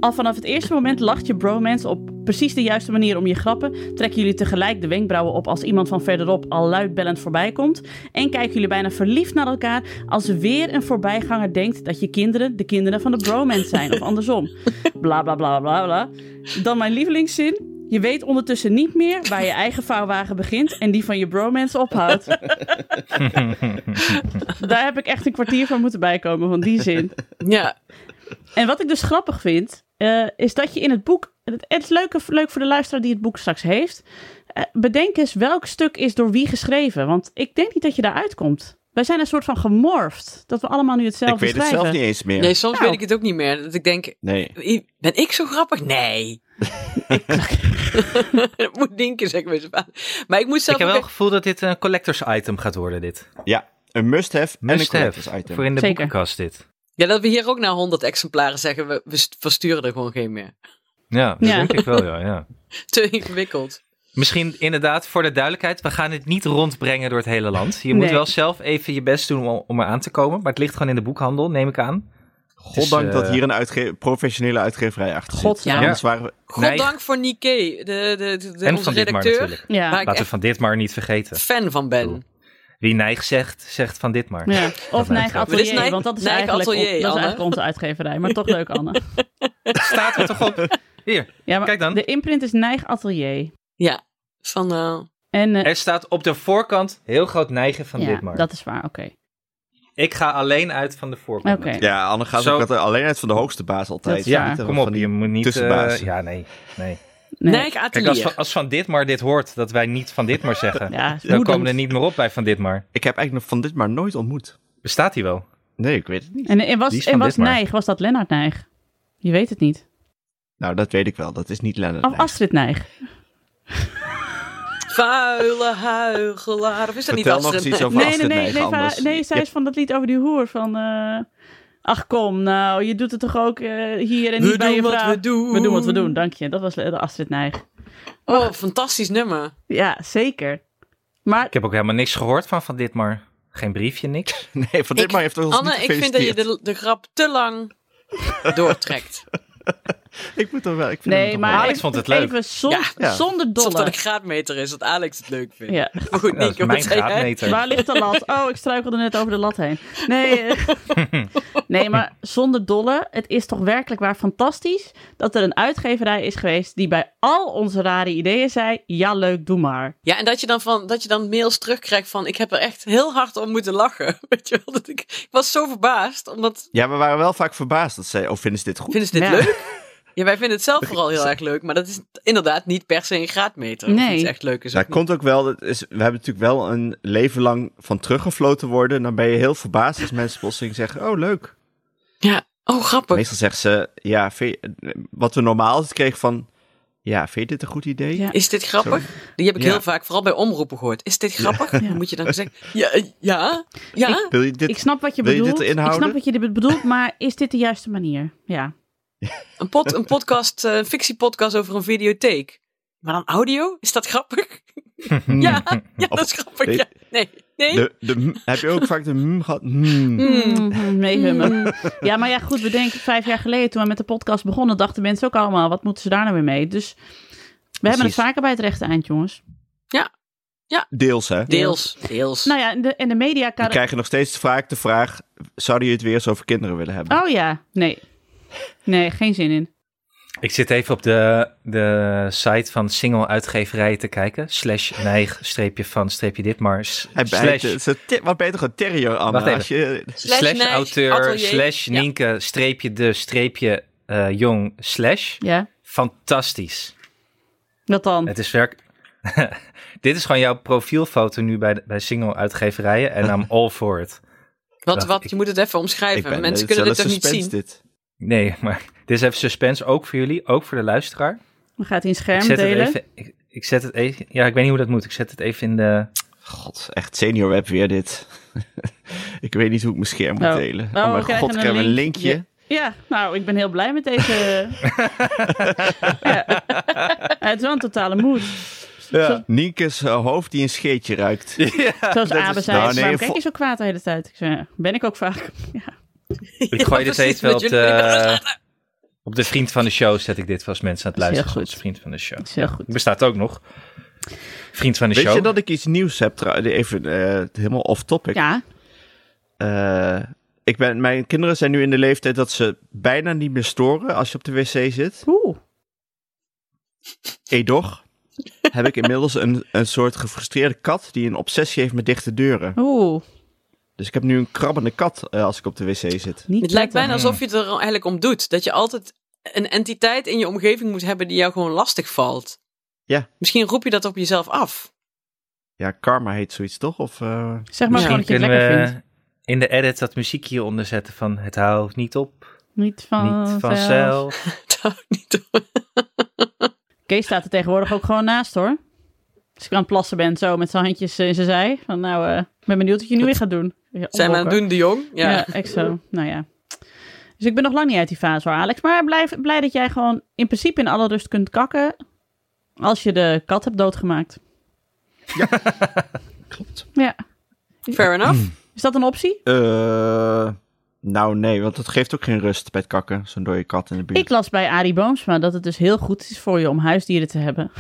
Speaker 1: Al vanaf het eerste moment lacht je bromance op precies de juiste manier om je grappen. Trekken jullie tegelijk de wenkbrauwen op als iemand van verderop al luidbellend voorbij komt. En kijken jullie bijna verliefd naar elkaar als weer een voorbijganger denkt dat je kinderen de kinderen van de bromance zijn. Of andersom. Bla bla bla bla bla. Dan mijn lievelingszin. Je weet ondertussen niet meer waar je eigen vouwwagen begint en die van je bromance ophoudt. Daar heb ik echt een kwartier van moeten bijkomen, van die zin.
Speaker 4: Ja,
Speaker 1: En wat ik dus grappig vind, eh, is dat je in het boek. Het het is leuk, leuk voor de luisteraar die het boek straks heeft. eh, bedenk eens welk stuk is door wie geschreven. Want ik denk niet dat je daar uitkomt. Wij zijn een soort van gemorfd. Dat we allemaal nu hetzelfde
Speaker 3: ik weet het
Speaker 1: schrijven.
Speaker 3: zelf niet eens meer.
Speaker 4: nee, soms
Speaker 1: Nou.
Speaker 4: weet ik het ook niet meer. Dat ik denk,
Speaker 3: Nee.
Speaker 4: I- Ben ik zo grappig? Nee. dat moet Nienke zeggen met zijn vader. Maar ik moet
Speaker 2: Ik
Speaker 4: zelf
Speaker 2: heb wel
Speaker 4: ook
Speaker 2: het gevoel dat dit een collectors item gaat worden, dit.
Speaker 3: Ja, een must-have en een
Speaker 2: Must
Speaker 3: collectors
Speaker 2: have
Speaker 3: item.
Speaker 2: voor in de
Speaker 1: Zeker.
Speaker 2: boekenkast dit.
Speaker 4: echt- Ja, dat we hier ook na 100 exemplaren zeggen, we, we st- versturen er gewoon geen meer.
Speaker 2: Ja, dat
Speaker 1: Ja.
Speaker 2: denk ik wel, ja, ja.
Speaker 4: Te ingewikkeld.
Speaker 2: Misschien inderdaad, voor de duidelijkheid, we gaan het niet rondbrengen door het hele land. Je moet
Speaker 1: Nee.
Speaker 2: wel zelf even je best doen om, om er aan te komen. Maar het ligt gewoon in de boekhandel, neem ik aan.
Speaker 3: Goddank
Speaker 2: Dus, eh,
Speaker 3: dat hier een uitge- professionele uitgeverij achter zit.
Speaker 1: Godzijdank.
Speaker 3: Ja. Anders waren we-
Speaker 2: Nee.
Speaker 4: Goddank voor Nike, de, de, de, de-
Speaker 2: en
Speaker 4: onze
Speaker 2: van Ditmar
Speaker 4: redacteur,
Speaker 2: natuurlijk.
Speaker 1: Ja.
Speaker 4: waar ik
Speaker 2: Laten we
Speaker 4: echt
Speaker 2: van Ditmar niet vergeten.
Speaker 4: fan van ben.
Speaker 2: Wie Nijg zegt, zegt van Ditmar.
Speaker 1: Ja. Of
Speaker 2: mij
Speaker 1: Nijg
Speaker 2: gaat.
Speaker 1: Atelier,
Speaker 4: Dit is Nijg-
Speaker 1: want dat is,
Speaker 4: Nijg
Speaker 1: eigenlijk,
Speaker 4: Dus Atelier,
Speaker 1: dat is
Speaker 4: Anne.
Speaker 1: eigenlijk onze uitgeverij. Maar toch leuk, Anne.
Speaker 2: Staat er toch op? Hier,
Speaker 1: Ja, maar
Speaker 2: Kijk dan.
Speaker 1: De imprint is Nijg Atelier.
Speaker 4: Ja, van eh,
Speaker 1: En eh,
Speaker 2: er staat op de voorkant heel groot Nijgen van
Speaker 1: ja,
Speaker 2: Ditmar.
Speaker 1: dat is waar, oké.
Speaker 2: Ik ga alleen uit van de voorkant.
Speaker 1: Oké.
Speaker 3: Ja, Anne gaat
Speaker 2: Zo-
Speaker 3: ook altijd- alleen uit van de hoogste baas altijd.
Speaker 1: Dat is waar.
Speaker 2: Ja,
Speaker 3: Van
Speaker 2: kom op,
Speaker 3: die-
Speaker 2: je moet niet... eh
Speaker 3: tussenbaas.
Speaker 2: ja, nee, nee.
Speaker 1: Nee.
Speaker 4: Nike
Speaker 2: Kijk,
Speaker 4: Atelier.
Speaker 2: als van, als van Ditmar dit hoort, dat wij niet van Ditmar zeggen,
Speaker 1: Ja,
Speaker 2: dan komen
Speaker 1: woedend.
Speaker 2: we er niet meer op bij van Ditmar.
Speaker 3: Ik heb eigenlijk nog van dit maar nooit ontmoet.
Speaker 2: Bestaat hij wel?
Speaker 3: Nee, ik weet het niet.
Speaker 1: En, en
Speaker 2: Die
Speaker 1: was,
Speaker 2: is van
Speaker 1: en was
Speaker 2: Ditmar.
Speaker 1: Nijg, was dat Lennart Nijg? Je weet het niet.
Speaker 3: Nou, dat weet ik wel. Dat is niet Lennart.
Speaker 1: Of
Speaker 3: nee.
Speaker 1: Astrid Nijg.
Speaker 4: Vuile huigelaar. Of is
Speaker 3: Vertel
Speaker 4: dat niet
Speaker 3: nog eens
Speaker 4: Astrid?
Speaker 3: iets over
Speaker 1: Nee, nee,
Speaker 3: Astrid
Speaker 1: nee,
Speaker 3: Nijg
Speaker 1: nee, va-
Speaker 3: anders.
Speaker 1: nee, zij
Speaker 3: Je-
Speaker 1: is van dat lied over die hoer. Van, eh, ach kom, nou, je doet het toch ook eh, hier en
Speaker 4: We
Speaker 1: niet bij
Speaker 4: doen
Speaker 1: je
Speaker 4: wat
Speaker 1: vrouw.
Speaker 4: we doen.
Speaker 1: We doen wat we doen, dank je. Dat was de Astrid Nijg.
Speaker 4: Oh, fantastisch nummer.
Speaker 1: Ja, zeker. Maar
Speaker 2: Ik heb ook helemaal niks gehoord van van Ditmar. Geen briefje, niks.
Speaker 3: Nee, van dit
Speaker 4: Ik-
Speaker 3: maar heeft ons
Speaker 4: Anne,
Speaker 3: niet
Speaker 4: ik vind dat je
Speaker 3: gefeliciteerd.
Speaker 4: de, de grap te lang doortrekt.
Speaker 3: Ik moet er wel... Ik vind hem
Speaker 1: nee,
Speaker 3: toch
Speaker 1: maar
Speaker 3: wel-
Speaker 2: Alex
Speaker 1: even-
Speaker 2: vond het leuk.
Speaker 1: Even zon-
Speaker 4: Ja.
Speaker 3: Ja.
Speaker 1: zonder
Speaker 4: Alsof dat een
Speaker 1: dolle.
Speaker 4: graadmeter is, dat Alex het leuk vindt.
Speaker 1: Ja.
Speaker 4: Maar goed,
Speaker 2: Ja, dat is
Speaker 4: Nienke,
Speaker 2: mijn
Speaker 4: wat zei jij?
Speaker 2: graadmeter.
Speaker 1: Waar ligt de lat? Oh, ik struikelde net over de lat heen. Nee, eh. nee, maar zonder dolle. Het is toch werkelijk waar fantastisch dat er een uitgeverij is geweest die bij al onze rare ideeën zei: ja, leuk, doe maar.
Speaker 4: Ja, en dat je, dan van, dat je dan mails terugkrijgt van... ik heb er echt heel hard om moeten lachen. Weet je wel, dat ik, ik was zo verbaasd. Omdat,
Speaker 3: Ja, we waren wel vaak verbaasd dat zij... Oh, vinden ze dit goed?
Speaker 4: vinden ze dit
Speaker 1: Ja.
Speaker 4: leuk? Ja, wij vinden het zelf vooral heel erg leuk. Maar dat is inderdaad niet per se een graadmeter. Of
Speaker 1: Nee.
Speaker 4: iets echt leuk is.
Speaker 3: Dat
Speaker 4: of niet.
Speaker 3: komt ook wel, dat is, we hebben natuurlijk wel een leven lang van teruggefloten worden. Dan ben je heel verbaasd als mensen plotseling zeggen, oh leuk.
Speaker 4: Ja, oh grappig.
Speaker 3: Meestal zeggen ze, ja, vind je- wat we normaal altijd kregen van, ja, vind je dit een goed idee?
Speaker 1: Ja.
Speaker 4: Is dit grappig? Die heb ik
Speaker 3: Ja.
Speaker 4: heel vaak, vooral bij omroepen gehoord. Is dit grappig? Dan moet je dan zeggen, ja, eh, ja, ja.
Speaker 3: Wil je dit?
Speaker 1: ik snap wat je
Speaker 3: wil je dit
Speaker 1: bedoelt.
Speaker 3: erin
Speaker 1: ik snap
Speaker 3: houden?
Speaker 1: wat je dit bedoelt, maar is dit de juiste manier? Ja.
Speaker 4: Een, pod, een podcast, eh, een fictiepodcast over een videotheek. Maar dan audio? Is dat grappig? ja, ja, dat is grappig.
Speaker 3: weet-
Speaker 4: Ja. Nee, nee.
Speaker 3: de, de, m- heb je ook vaak de mm gehad? Mm.
Speaker 4: Hmm.
Speaker 1: Mm, meehummen. Ja, maar ja, goed, we denken vijf jaar geleden toen we met de podcast begonnen, dachten mensen ook allemaal: wat moeten ze daar nou weer mee? Dus we hebben het
Speaker 3: Precies.
Speaker 1: vaker bij het rechte eind, jongens.
Speaker 3: Deels, hè?
Speaker 4: Deels, deels.
Speaker 1: Nou ja, en de, en de media
Speaker 3: We krijgen nog steeds vaak de vraag, zouden jullie het weer eens over kinderen willen hebben?
Speaker 1: Oh ja, nee. Nee, geen zin in.
Speaker 2: Ik zit even op de, de site van single uitgeverijen te kijken. Slash neig, streepje van, streepje Ditmar. s-
Speaker 3: Hij bijt,
Speaker 2: Slash,
Speaker 3: het is een te- wat beter gewoon terrier, Anne.
Speaker 2: Wacht even.
Speaker 3: als je,
Speaker 4: Slash
Speaker 2: slash
Speaker 4: Nijg,
Speaker 2: auteur,
Speaker 4: atelier.
Speaker 2: slash
Speaker 4: Ja.
Speaker 2: Nienke, streepje de, streepje eh, jong, slash.
Speaker 1: Ja,
Speaker 2: Fantastisch.
Speaker 1: wat dan?
Speaker 2: Het is werk. Dit is gewoon jouw profielfoto nu bij, de- bij single uitgeverijen. En I'm all for it.
Speaker 4: Wat,
Speaker 2: Wacht,
Speaker 4: wat?
Speaker 2: ik-
Speaker 4: Je moet het even
Speaker 3: Ik
Speaker 4: omschrijven.
Speaker 3: ben
Speaker 4: Mensen
Speaker 3: het
Speaker 4: kunnen dit
Speaker 3: zelfs
Speaker 4: toch niet
Speaker 3: suspense,
Speaker 4: zien?
Speaker 3: Dit.
Speaker 2: Nee, maar dit is even suspense. Ook voor jullie, ook voor de luisteraar.
Speaker 1: We gaan het in
Speaker 2: Ik
Speaker 1: scherm
Speaker 2: zet het
Speaker 1: delen.
Speaker 2: even. Ik, ik zet het even. Ja, ik weet niet hoe dat moet. Ik zet het even in de.
Speaker 3: God, echt senior web weer dit. ik weet niet hoe ik mijn scherm moet
Speaker 1: Oh.
Speaker 3: delen.
Speaker 1: Oh,
Speaker 3: Oh,
Speaker 1: we
Speaker 3: mijn
Speaker 1: krijgen
Speaker 3: god,
Speaker 1: een
Speaker 3: krijgen we een
Speaker 1: linkje.
Speaker 3: linkje.
Speaker 1: Ja, nou, ik ben heel blij met deze. ja. Het is wel een totale moed.
Speaker 3: Ja. Nieke's eh, hoofd die een scheetje ruikt.
Speaker 1: Zoals Abe zei,
Speaker 3: nou,
Speaker 1: nou,
Speaker 3: nee,
Speaker 1: waarom
Speaker 3: vo-
Speaker 1: kijk je zo kwaad de hele tijd? Ik zei, ja, ben ik ook vaak.
Speaker 2: Ik gooi dit
Speaker 4: precies,
Speaker 2: even wel op
Speaker 4: met jullie in de
Speaker 2: de, op de vriend van de show. Zet ik dit vast mensen aan het
Speaker 1: Dat is heel
Speaker 2: luisteren.
Speaker 1: goed.
Speaker 2: Onze vriend van de show.
Speaker 1: Dat is heel goed.
Speaker 2: Bestaat ook nog. Vriend van de
Speaker 3: Weet
Speaker 2: show.
Speaker 3: je dat ik iets nieuws heb? trouw- Even eh, helemaal off topic.
Speaker 1: Ja,
Speaker 3: Eh, ik ben, mijn kinderen zijn nu in de leeftijd dat ze bijna niet meer storen als je op de wc zit.
Speaker 1: oeh.
Speaker 3: Edoch heb ik inmiddels een, een soort gefrustreerde kat die een obsessie heeft met dichte deuren.
Speaker 1: Oeh.
Speaker 3: Dus ik heb nu een krabbende kat eh, als ik op de wc zit.
Speaker 1: Niet
Speaker 4: Het lijkt
Speaker 1: prettig.
Speaker 4: bijna alsof je het er eigenlijk om doet. Dat je altijd een entiteit in je omgeving moet hebben die jou gewoon lastig valt.
Speaker 3: Ja.
Speaker 4: Misschien roep je dat op jezelf af.
Speaker 3: Ja, karma heet zoiets toch? Of, eh,
Speaker 1: Zeg maar gewoon dat je het
Speaker 2: Kunnen
Speaker 1: lekker
Speaker 2: we
Speaker 1: vindt.
Speaker 2: in de edit dat muziek hieronder zetten van het houdt niet op,
Speaker 1: Niet van
Speaker 2: niet vanzelf.
Speaker 4: Het houdt niet op.
Speaker 1: Kees staat er tegenwoordig ook gewoon naast hoor. Als ik aan het plassen ben, zo met zijn handjes eh, in zijn zij. Van nou, eh, ik ben benieuwd wat je nu weer gaat doen. Ja,
Speaker 4: Zijn we aan het
Speaker 1: omhokken.
Speaker 4: doen, de jong? Ja.
Speaker 1: Ja, echt zo. Nou ja. Dus ik ben nog lang niet uit die fase hoor, Alex. Maar blijf blij dat jij gewoon in principe in alle rust kunt kakken. Als je de kat hebt doodgemaakt.
Speaker 3: Klopt.
Speaker 1: Ja.
Speaker 4: Fair enough.
Speaker 1: Is dat een optie?
Speaker 3: Eh, nou nee, want dat geeft ook geen rust bij het kakken, zo'n dode kat in de buurt.
Speaker 1: Ik las bij Arie Boomsma dat het dus heel goed is voor je om huisdieren te hebben.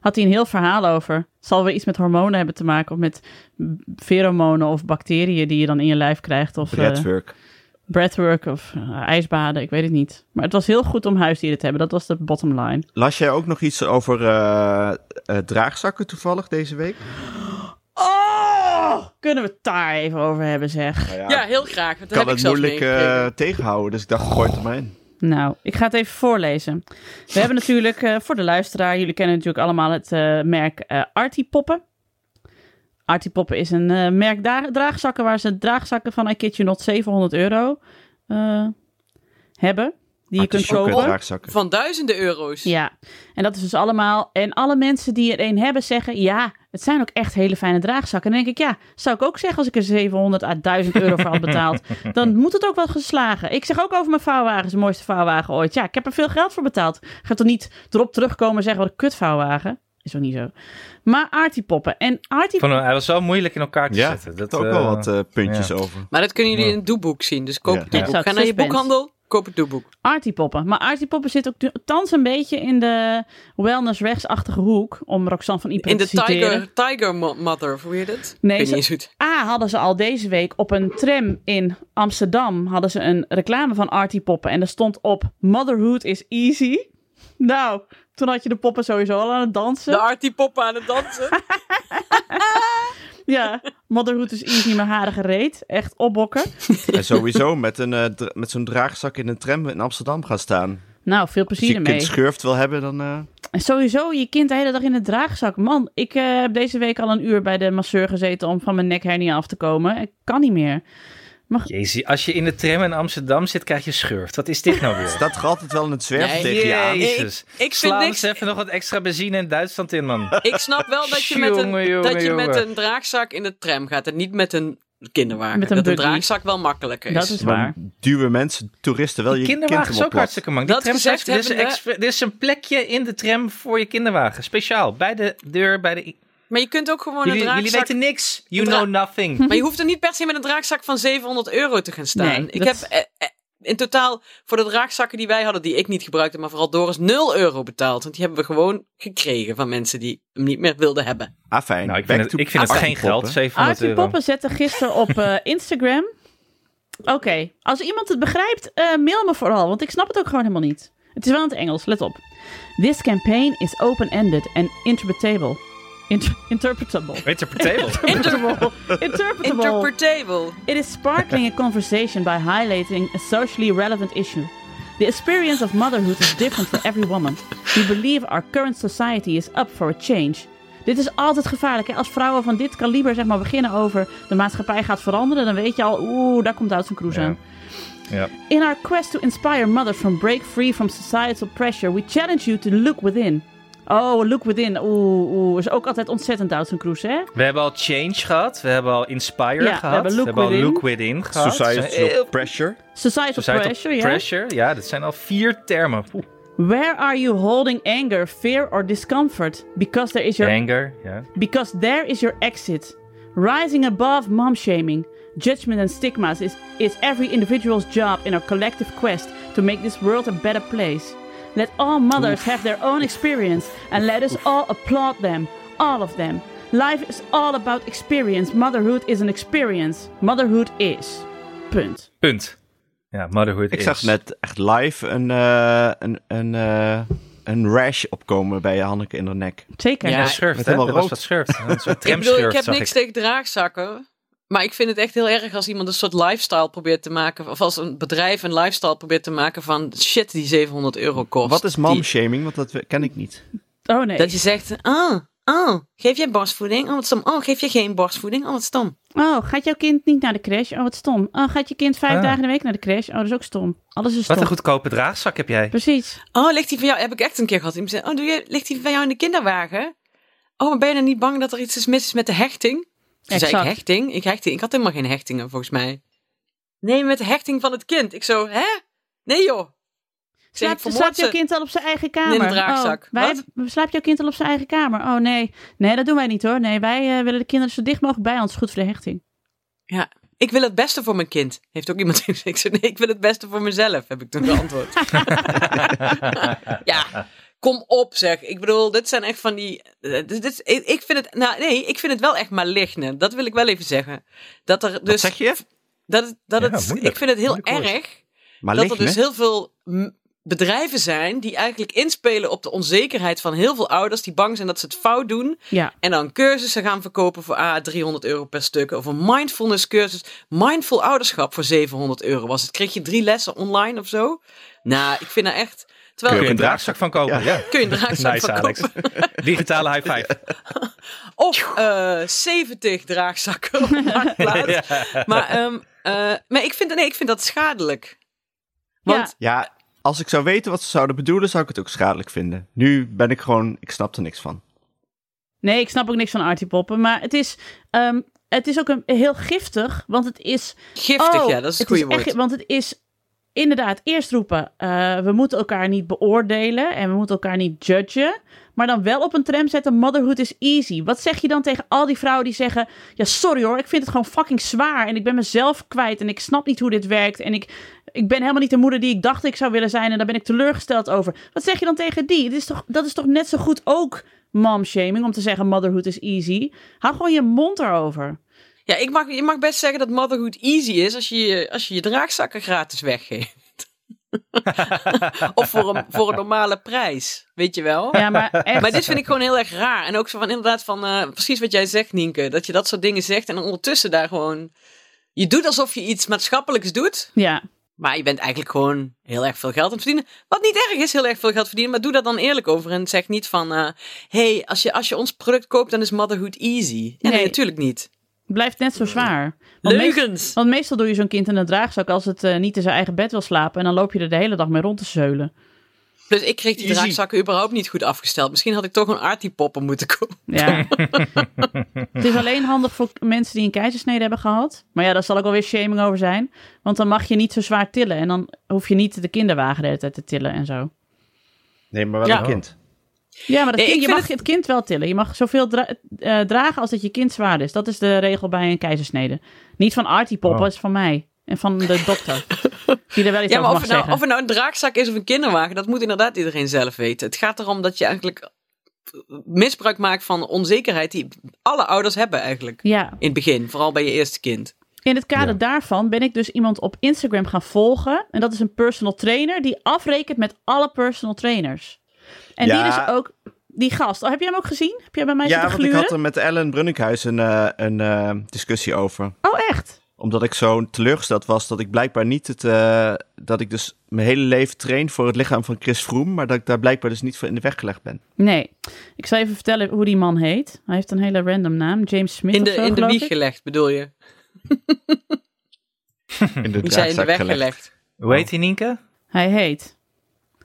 Speaker 1: Had hij een heel verhaal over. Het zal weer iets met hormonen hebben te maken. Of met pheromonen of bacteriën die je dan in je lijf krijgt. Of, eh,
Speaker 3: Breathwork.
Speaker 1: breathwork of eh, ijsbaden, ik weet het niet. Maar het was heel goed om huisdieren te hebben. Dat was de bottom line.
Speaker 3: Las jij ook nog iets over eh, eh, draagzakken toevallig deze week?
Speaker 1: Oh! Kunnen we het daar even over hebben, zeg?
Speaker 3: Nou
Speaker 4: Ja, heel graag. want
Speaker 3: ik kan
Speaker 4: Daar heb ik
Speaker 3: het
Speaker 4: zelf
Speaker 3: moeilijk eh,
Speaker 4: meegekregen.
Speaker 3: tegenhouden, dus ik dacht, gooi het er maar in.
Speaker 1: Nou, ik ga het even voorlezen. We hebben natuurlijk eh, voor de luisteraar, jullie kennen natuurlijk allemaal het eh, merk eh Artie Poppen. Artie Poppen is een eh, merk da- draagzakken waar ze draagzakken van I Kid You Not 700 euro eh, hebben. Die je kunt
Speaker 3: Artisjokken
Speaker 1: kopen.
Speaker 3: draagzakken.
Speaker 4: Van duizenden euro's.
Speaker 1: Ja, en dat is dus allemaal. En alle mensen die er een hebben zeggen: ja, het zijn ook echt hele fijne draagzakken. En dan denk ik: ja, zou ik ook zeggen als ik er 700 à 1000 euro voor had betaald. dan moet het ook wel geslagen. Ik zeg ook over mijn vouwwagen, is de mooiste vouwwagen ooit. Ja, ik heb er veel geld voor betaald. Ga toch niet erop terugkomen en zeggen: wat een kutvouwwagen. Is ook niet zo. Maar Artiepoppen. En
Speaker 2: Ik
Speaker 1: Artiepoppen.
Speaker 2: vond hem- hij was wel moeilijk in elkaar te
Speaker 3: Ja,
Speaker 2: zetten.
Speaker 3: Dat ook wel
Speaker 2: eh,
Speaker 3: wat eh, puntjes over.
Speaker 4: Maar dat kunnen jullie
Speaker 2: Ja.
Speaker 4: in het doeboek zien. Dus koop
Speaker 3: Ja.
Speaker 4: het doeboek.
Speaker 1: Exact,
Speaker 4: Ga naar je
Speaker 1: suspense.
Speaker 4: boekhandel, koop het doeboek.
Speaker 1: Artiepoppen. Maar Artiepoppen zit ook nu- thans een beetje in de wellness-rechtsachtige hoek. Om Roxanne van Ieper
Speaker 4: In
Speaker 1: te
Speaker 4: de
Speaker 1: citeren.
Speaker 4: Tiger, tiger Mo- Mother, of hoe heet het?
Speaker 1: Nee,
Speaker 4: Ik weet
Speaker 1: ze-
Speaker 4: niet eens hoe het-
Speaker 1: A hadden ze al deze week op een tram in Amsterdam hadden ze een reclame van Artie Poppen. En er stond op Motherhood is easy. Nou, toen had je de poppen sowieso al aan het dansen.
Speaker 4: De Artie Poppen aan het dansen.
Speaker 1: Ja, Motherhood is easy, mijn haren gereed. Echt opbokken.
Speaker 3: En sowieso met, een, eh, dra- met zo'n draagzak in een tram in Amsterdam gaan staan.
Speaker 1: Nou, veel
Speaker 3: Als
Speaker 1: plezier
Speaker 3: je een
Speaker 1: ermee.
Speaker 3: kind schurft wil hebben, dan... eh,
Speaker 1: En sowieso je kind de hele dag in de draagzak. Man, ik eh, heb deze week al een uur bij de masseur gezeten om van mijn nekhernia af te komen. Ik kan niet meer.
Speaker 2: Jezus, als je in de tram in Amsterdam zit, krijg je schurft. Wat is dit nou weer?
Speaker 3: staat er altijd wel in het zwerven
Speaker 4: Nee,
Speaker 3: tegen je aan.
Speaker 2: Jezus.
Speaker 4: Ik- ik
Speaker 2: Sla
Speaker 4: vind
Speaker 2: eens
Speaker 4: niks-
Speaker 2: even nog wat extra benzine in Duitsland in, man.
Speaker 4: Ik snap wel dat je, met een,
Speaker 2: Jongen, jongen,
Speaker 4: dat je met
Speaker 2: jongen.
Speaker 4: een draagzak in de tram gaat en niet met een kinderwagen.
Speaker 1: Met een
Speaker 4: dat een
Speaker 1: buggy.
Speaker 4: draagzak wel makkelijker is.
Speaker 1: Dat is waar.
Speaker 3: Dan duwen mensen, toeristen, wel
Speaker 2: Die
Speaker 3: je kind
Speaker 2: kinderwagen
Speaker 3: hem
Speaker 2: is
Speaker 3: op
Speaker 2: ook
Speaker 3: plat.
Speaker 2: hartstikke man.
Speaker 4: Dat gezegd
Speaker 2: dit, is een
Speaker 4: hebbende-
Speaker 2: extra- dit is een plekje in de tram voor je kinderwagen. Speciaal, bij de deur, bij de...
Speaker 4: Maar je kunt ook gewoon
Speaker 2: Jullie,
Speaker 4: een
Speaker 2: jullie
Speaker 4: draagzak...
Speaker 2: weten niks. You
Speaker 4: Dra- Hm.
Speaker 2: know
Speaker 3: Nou,
Speaker 2: nothing.
Speaker 4: Maar je hoeft er niet per se met een draagzak van 700 euro te gaan staan.
Speaker 1: Mhm. Nee,
Speaker 4: ik
Speaker 1: dat-
Speaker 4: heb eh, eh, in totaal voor de draagzakken die wij hadden, die ik niet gebruikte, maar vooral Doris, 0 euro betaald. Want die hebben we gewoon gekregen van mensen die hem niet meer wilden hebben.
Speaker 3: Ah, fijn.
Speaker 2: Nou, ik
Speaker 3: Back
Speaker 2: vind het,
Speaker 3: to
Speaker 2: ik vind het
Speaker 3: Artie
Speaker 2: geen geld,
Speaker 3: Poppen.
Speaker 2: 700
Speaker 1: Artie
Speaker 2: euro.
Speaker 1: Poppen zette gisteren op eh, Instagram. Oké, als iemand het begrijpt, eh, mail me vooral, want ik snap het ook gewoon helemaal niet. Het is wel in het Engels, let op. This campaign is open-ended and interpretable. Inter- interpretable.
Speaker 2: Interpretable.
Speaker 1: Interpretable. interpretable.
Speaker 4: Interpretable.
Speaker 1: It is sparkling a conversation by highlighting a socially relevant issue. The experience of motherhood is different for every woman. We believe our current society is up for a change. Dit is altijd gevaarlijk. Hè? Als vrouwen van dit kaliber zeg maar, beginnen over de maatschappij gaat veranderen, dan weet je al, oeh, daar komt Hudson Cruz
Speaker 2: Ja.
Speaker 1: aan.
Speaker 2: Ja.
Speaker 1: In our quest to inspire mothers from break free from societal pressure, we challenge you to look within. Oh, look within. Oeh, oeh. Is ook altijd ontzettend Duitse Cruise, hè?
Speaker 2: We hebben al Change gehad, we hebben al Inspire
Speaker 1: Ja, we
Speaker 2: gehad,
Speaker 1: hebben Look Within.
Speaker 2: al Look Within gehad. Dat zijn heel-
Speaker 3: Societal pressure.
Speaker 1: Societal,
Speaker 2: Societal
Speaker 1: pressure, ja.
Speaker 2: pressure, ja, dat zijn al vier termen. Oeh,
Speaker 1: Where are you holding anger, fear or discomfort? Because there is your
Speaker 2: Anger, ja.
Speaker 1: because there is your exit. Rising above mom shaming, judgment and stigmas is, is every individual's job in our collective quest to make this world a better place. Let all mothers have their own experience and let us all applaud them, all of them. Life is all about experience. Motherhood is an experience. Motherhood is. Punt.
Speaker 2: Punt. Ja, motherhood
Speaker 3: Ik
Speaker 2: is.
Speaker 3: zag net echt live een, eh, een, een, eh, een rash opkomen bij Hanneke in haar nek.
Speaker 1: Zeker.
Speaker 4: Ja,
Speaker 2: Ja,
Speaker 4: ik-
Speaker 2: schurft,
Speaker 3: Met
Speaker 2: hè?
Speaker 3: helemaal
Speaker 2: Dat was
Speaker 3: rood.
Speaker 2: wat schurft. Een soort
Speaker 4: Ik bedoel, ik
Speaker 2: tramschurft
Speaker 4: heb
Speaker 2: zag
Speaker 4: niks
Speaker 2: ik.
Speaker 4: tegen draagzakken. Maar ik vind het echt heel erg als iemand een soort lifestyle probeert te maken. Of als een bedrijf een lifestyle probeert te maken van shit die 700 euro kost.
Speaker 3: Wat is momshaming? Want dat we- ken ik niet.
Speaker 1: Oh nee.
Speaker 4: Die- Dat je zegt, ah, ah, geef jij borstvoeding? Oh, wat stom. Oh, geef je geen borstvoeding? Oh, wat stom.
Speaker 1: Oh, gaat jouw kind niet naar de crash? Oh, wat stom. Oh, gaat je kind vijf
Speaker 2: Ah.
Speaker 1: dagen in de week naar de crash? Oh, dat is ook stom. Alles is stom.
Speaker 2: Wat een goedkope draagzak heb jij.
Speaker 1: Precies.
Speaker 4: Oh, ligt die van jou? Heb ik echt een keer gehad. Iemand zei, oh, doe je, ligt die van jou in de kinderwagen? Oh, maar ben je dan niet bang dat er iets is mis is met de hechting? Toen zei ik,
Speaker 1: Exact.
Speaker 4: hechting? Ik hechting? Ik had helemaal geen hechtingen, volgens mij. Nee, met de hechting van het kind. Ik zo, hè? Nee, joh. Ik zeg, ik
Speaker 1: Slaapt
Speaker 4: vermoord
Speaker 1: slaapt jouw
Speaker 4: ze.
Speaker 1: kind al op zijn eigen kamer?
Speaker 4: een draagzak.
Speaker 1: Oh, wij,
Speaker 4: Wat?
Speaker 1: slaapt jouw kind al op zijn eigen kamer? Oh nee, nee, dat doen wij niet hoor. Nee, wij eh, willen de kinderen zo dicht mogelijk bij ons. Goed voor de hechting.
Speaker 4: Ja, ik wil het beste voor mijn kind. Heeft ook iemand gezegd. Ik zei, nee, ik wil het beste voor mezelf, heb ik toen geantwoord. ja, kom op zeg. Ik bedoel, dit zijn echt van die... eh, Dit, dit, ik ik vind het... Nou, nee, ik vind het wel echt maligne. Dat wil ik wel even zeggen. Dat er dus...
Speaker 3: Wat zeg je?
Speaker 4: Dat, het- dat
Speaker 2: Ja,
Speaker 4: het,
Speaker 2: moeilijk.
Speaker 4: ik vind het heel
Speaker 2: Moeilijk woord.
Speaker 4: erg
Speaker 3: Maar
Speaker 4: dat er
Speaker 3: ligt
Speaker 4: dus heel veel m, bedrijven zijn die eigenlijk inspelen op de onzekerheid van heel veel ouders die bang zijn dat ze het fout doen.
Speaker 1: Ja,
Speaker 4: En dan cursussen gaan verkopen voor ah, 300 euro per stuk. Of een mindfulness cursus. Mindful ouderschap voor 700 euro was het. Kreeg je drie lessen online of zo? Nou, ik vind dat echt... Terwijl,
Speaker 2: Kun je
Speaker 3: Kun
Speaker 2: een
Speaker 3: je
Speaker 2: draagzak van kopen? Ja.
Speaker 4: kun je een draagzak
Speaker 2: Nice,
Speaker 4: verkopen.
Speaker 2: Alex. Digitale high five.
Speaker 4: Of eh 70 draagzakken op de marktplaats. Maar, ehm, eh, maar ik, vind, nee, ik vind dat schadelijk. Want
Speaker 3: Ja, als ik zou weten wat ze zouden bedoelen, zou ik het ook schadelijk vinden. Nu ben ik gewoon, ik snap er niks van.
Speaker 1: nee, ik snap ook niks van Artie Poppen. Maar het is, ehm, het is ook een, heel giftig, want het is...
Speaker 4: giftig,
Speaker 1: oh,
Speaker 4: ja, dat is het
Speaker 1: is
Speaker 4: goede
Speaker 1: echt-
Speaker 4: woord.
Speaker 1: want het is inderdaad eerst roepen, eh, we moeten elkaar niet beoordelen en we moeten elkaar niet judgen. Maar dan wel op een tram zetten, motherhood is easy. Wat zeg je dan tegen al die vrouwen die zeggen, ja sorry hoor, ik vind het gewoon fucking zwaar. En ik ben mezelf kwijt en ik snap niet hoe dit werkt. En ik, ik ben helemaal niet de moeder die ik dacht ik zou willen zijn en daar ben ik teleurgesteld over. Wat zeg je dan tegen die? Dit is toch, dat is toch net zo goed ook momshaming om te zeggen motherhood is easy. Hou gewoon je mond erover.
Speaker 4: Ja, ik mag, je mag best zeggen dat motherhood easy is als je je, als je, je draagzakken gratis weggeeft. of voor een, voor een normale prijs, weet je wel.
Speaker 1: Ja, maar echt.
Speaker 4: Maar dit vind ik gewoon heel erg raar. En ook zo van inderdaad van eh, precies wat jij zegt, Nienke. Dat je dat soort dingen zegt en ondertussen daar gewoon... Je doet alsof je iets maatschappelijks doet,
Speaker 1: Ja.
Speaker 4: maar je bent eigenlijk gewoon heel erg veel geld aan het verdienen. Wat niet erg is, heel erg veel geld verdienen, maar doe dat dan eerlijk over. En zeg niet van, eh, hey, als je, als je ons product koopt, dan is motherhood easy. Ja, nee,
Speaker 1: Nee.
Speaker 4: natuurlijk niet.
Speaker 1: blijft net zo zwaar. Want, meest-
Speaker 4: Leugens!
Speaker 1: want meestal doe je zo'n kind in een draagzak als het eh, niet in zijn eigen bed wil slapen. En dan loop je er de hele dag mee rond te zeulen.
Speaker 4: Plus ik kreeg die
Speaker 3: Easy.
Speaker 4: draagzakken überhaupt niet goed afgesteld. Misschien had ik toch een artiepoppen moeten kopen.
Speaker 1: Ja. het is alleen handig voor mensen die een keizersnede hebben gehad. Maar ja, daar zal ook alweer shaming over zijn. Want dan mag je niet zo zwaar tillen. En dan hoef je niet de kinderwagen de hele tijd te tillen en zo.
Speaker 3: Nee, maar wel
Speaker 4: Ja.
Speaker 3: een kind.
Speaker 1: Ja, maar dat
Speaker 4: Nee,
Speaker 1: kind-
Speaker 4: ik
Speaker 1: je
Speaker 4: vind
Speaker 1: mag het... kind wel tillen. Je mag zoveel dra- eh, dragen als dat je kind zwaar is. Dat is de regel bij een keizersnede. Niet van Artie Pop,
Speaker 2: Oh.
Speaker 1: dat is van mij. En van de dokter. die er wel iets
Speaker 4: Ja, maar
Speaker 1: over mag
Speaker 4: of het, nou,
Speaker 1: zeggen.
Speaker 4: of het nou een draagzak is of een kinderwagen, dat moet inderdaad iedereen zelf weten. Het gaat erom dat je eigenlijk eh, misbruik maakt van onzekerheid die alle ouders hebben eigenlijk.
Speaker 1: Ja,
Speaker 4: In het begin, vooral bij je eerste kind.
Speaker 1: In het kader
Speaker 2: Ja.
Speaker 1: daarvan ben ik dus iemand op Instagram gaan volgen. En dat is een personal trainer die afrekent met alle personal trainers. En die
Speaker 3: Ja.
Speaker 1: dus ook, die gast. Oh, heb jij hem ook gezien? Heb jij bij mij
Speaker 3: Ja,
Speaker 1: zitten
Speaker 3: want ik
Speaker 1: gluren?
Speaker 3: had er met Ellen Brunninghuis een, eh, een eh, discussie over.
Speaker 1: Oh, echt?
Speaker 3: Omdat ik zo teleurgesteld was dat ik blijkbaar niet het... eh, dat ik dus mijn hele leven train voor het lichaam van Chris Froome. Maar dat ik daar blijkbaar dus niet voor in de weg gelegd ben.
Speaker 1: Nee. Ik zal even vertellen hoe die man heet. Hij heeft een hele random naam. James Smith
Speaker 4: In
Speaker 1: of
Speaker 4: de,
Speaker 1: zo,
Speaker 4: in de
Speaker 1: geloof
Speaker 4: wieg
Speaker 1: ik.
Speaker 4: gelegd, bedoel je?
Speaker 3: In de
Speaker 4: Ik zei Hm. in de
Speaker 3: draagzak
Speaker 4: weg
Speaker 3: gelegd.
Speaker 4: gelegd.
Speaker 2: Hoe heet die, Nienke?
Speaker 1: Hij heet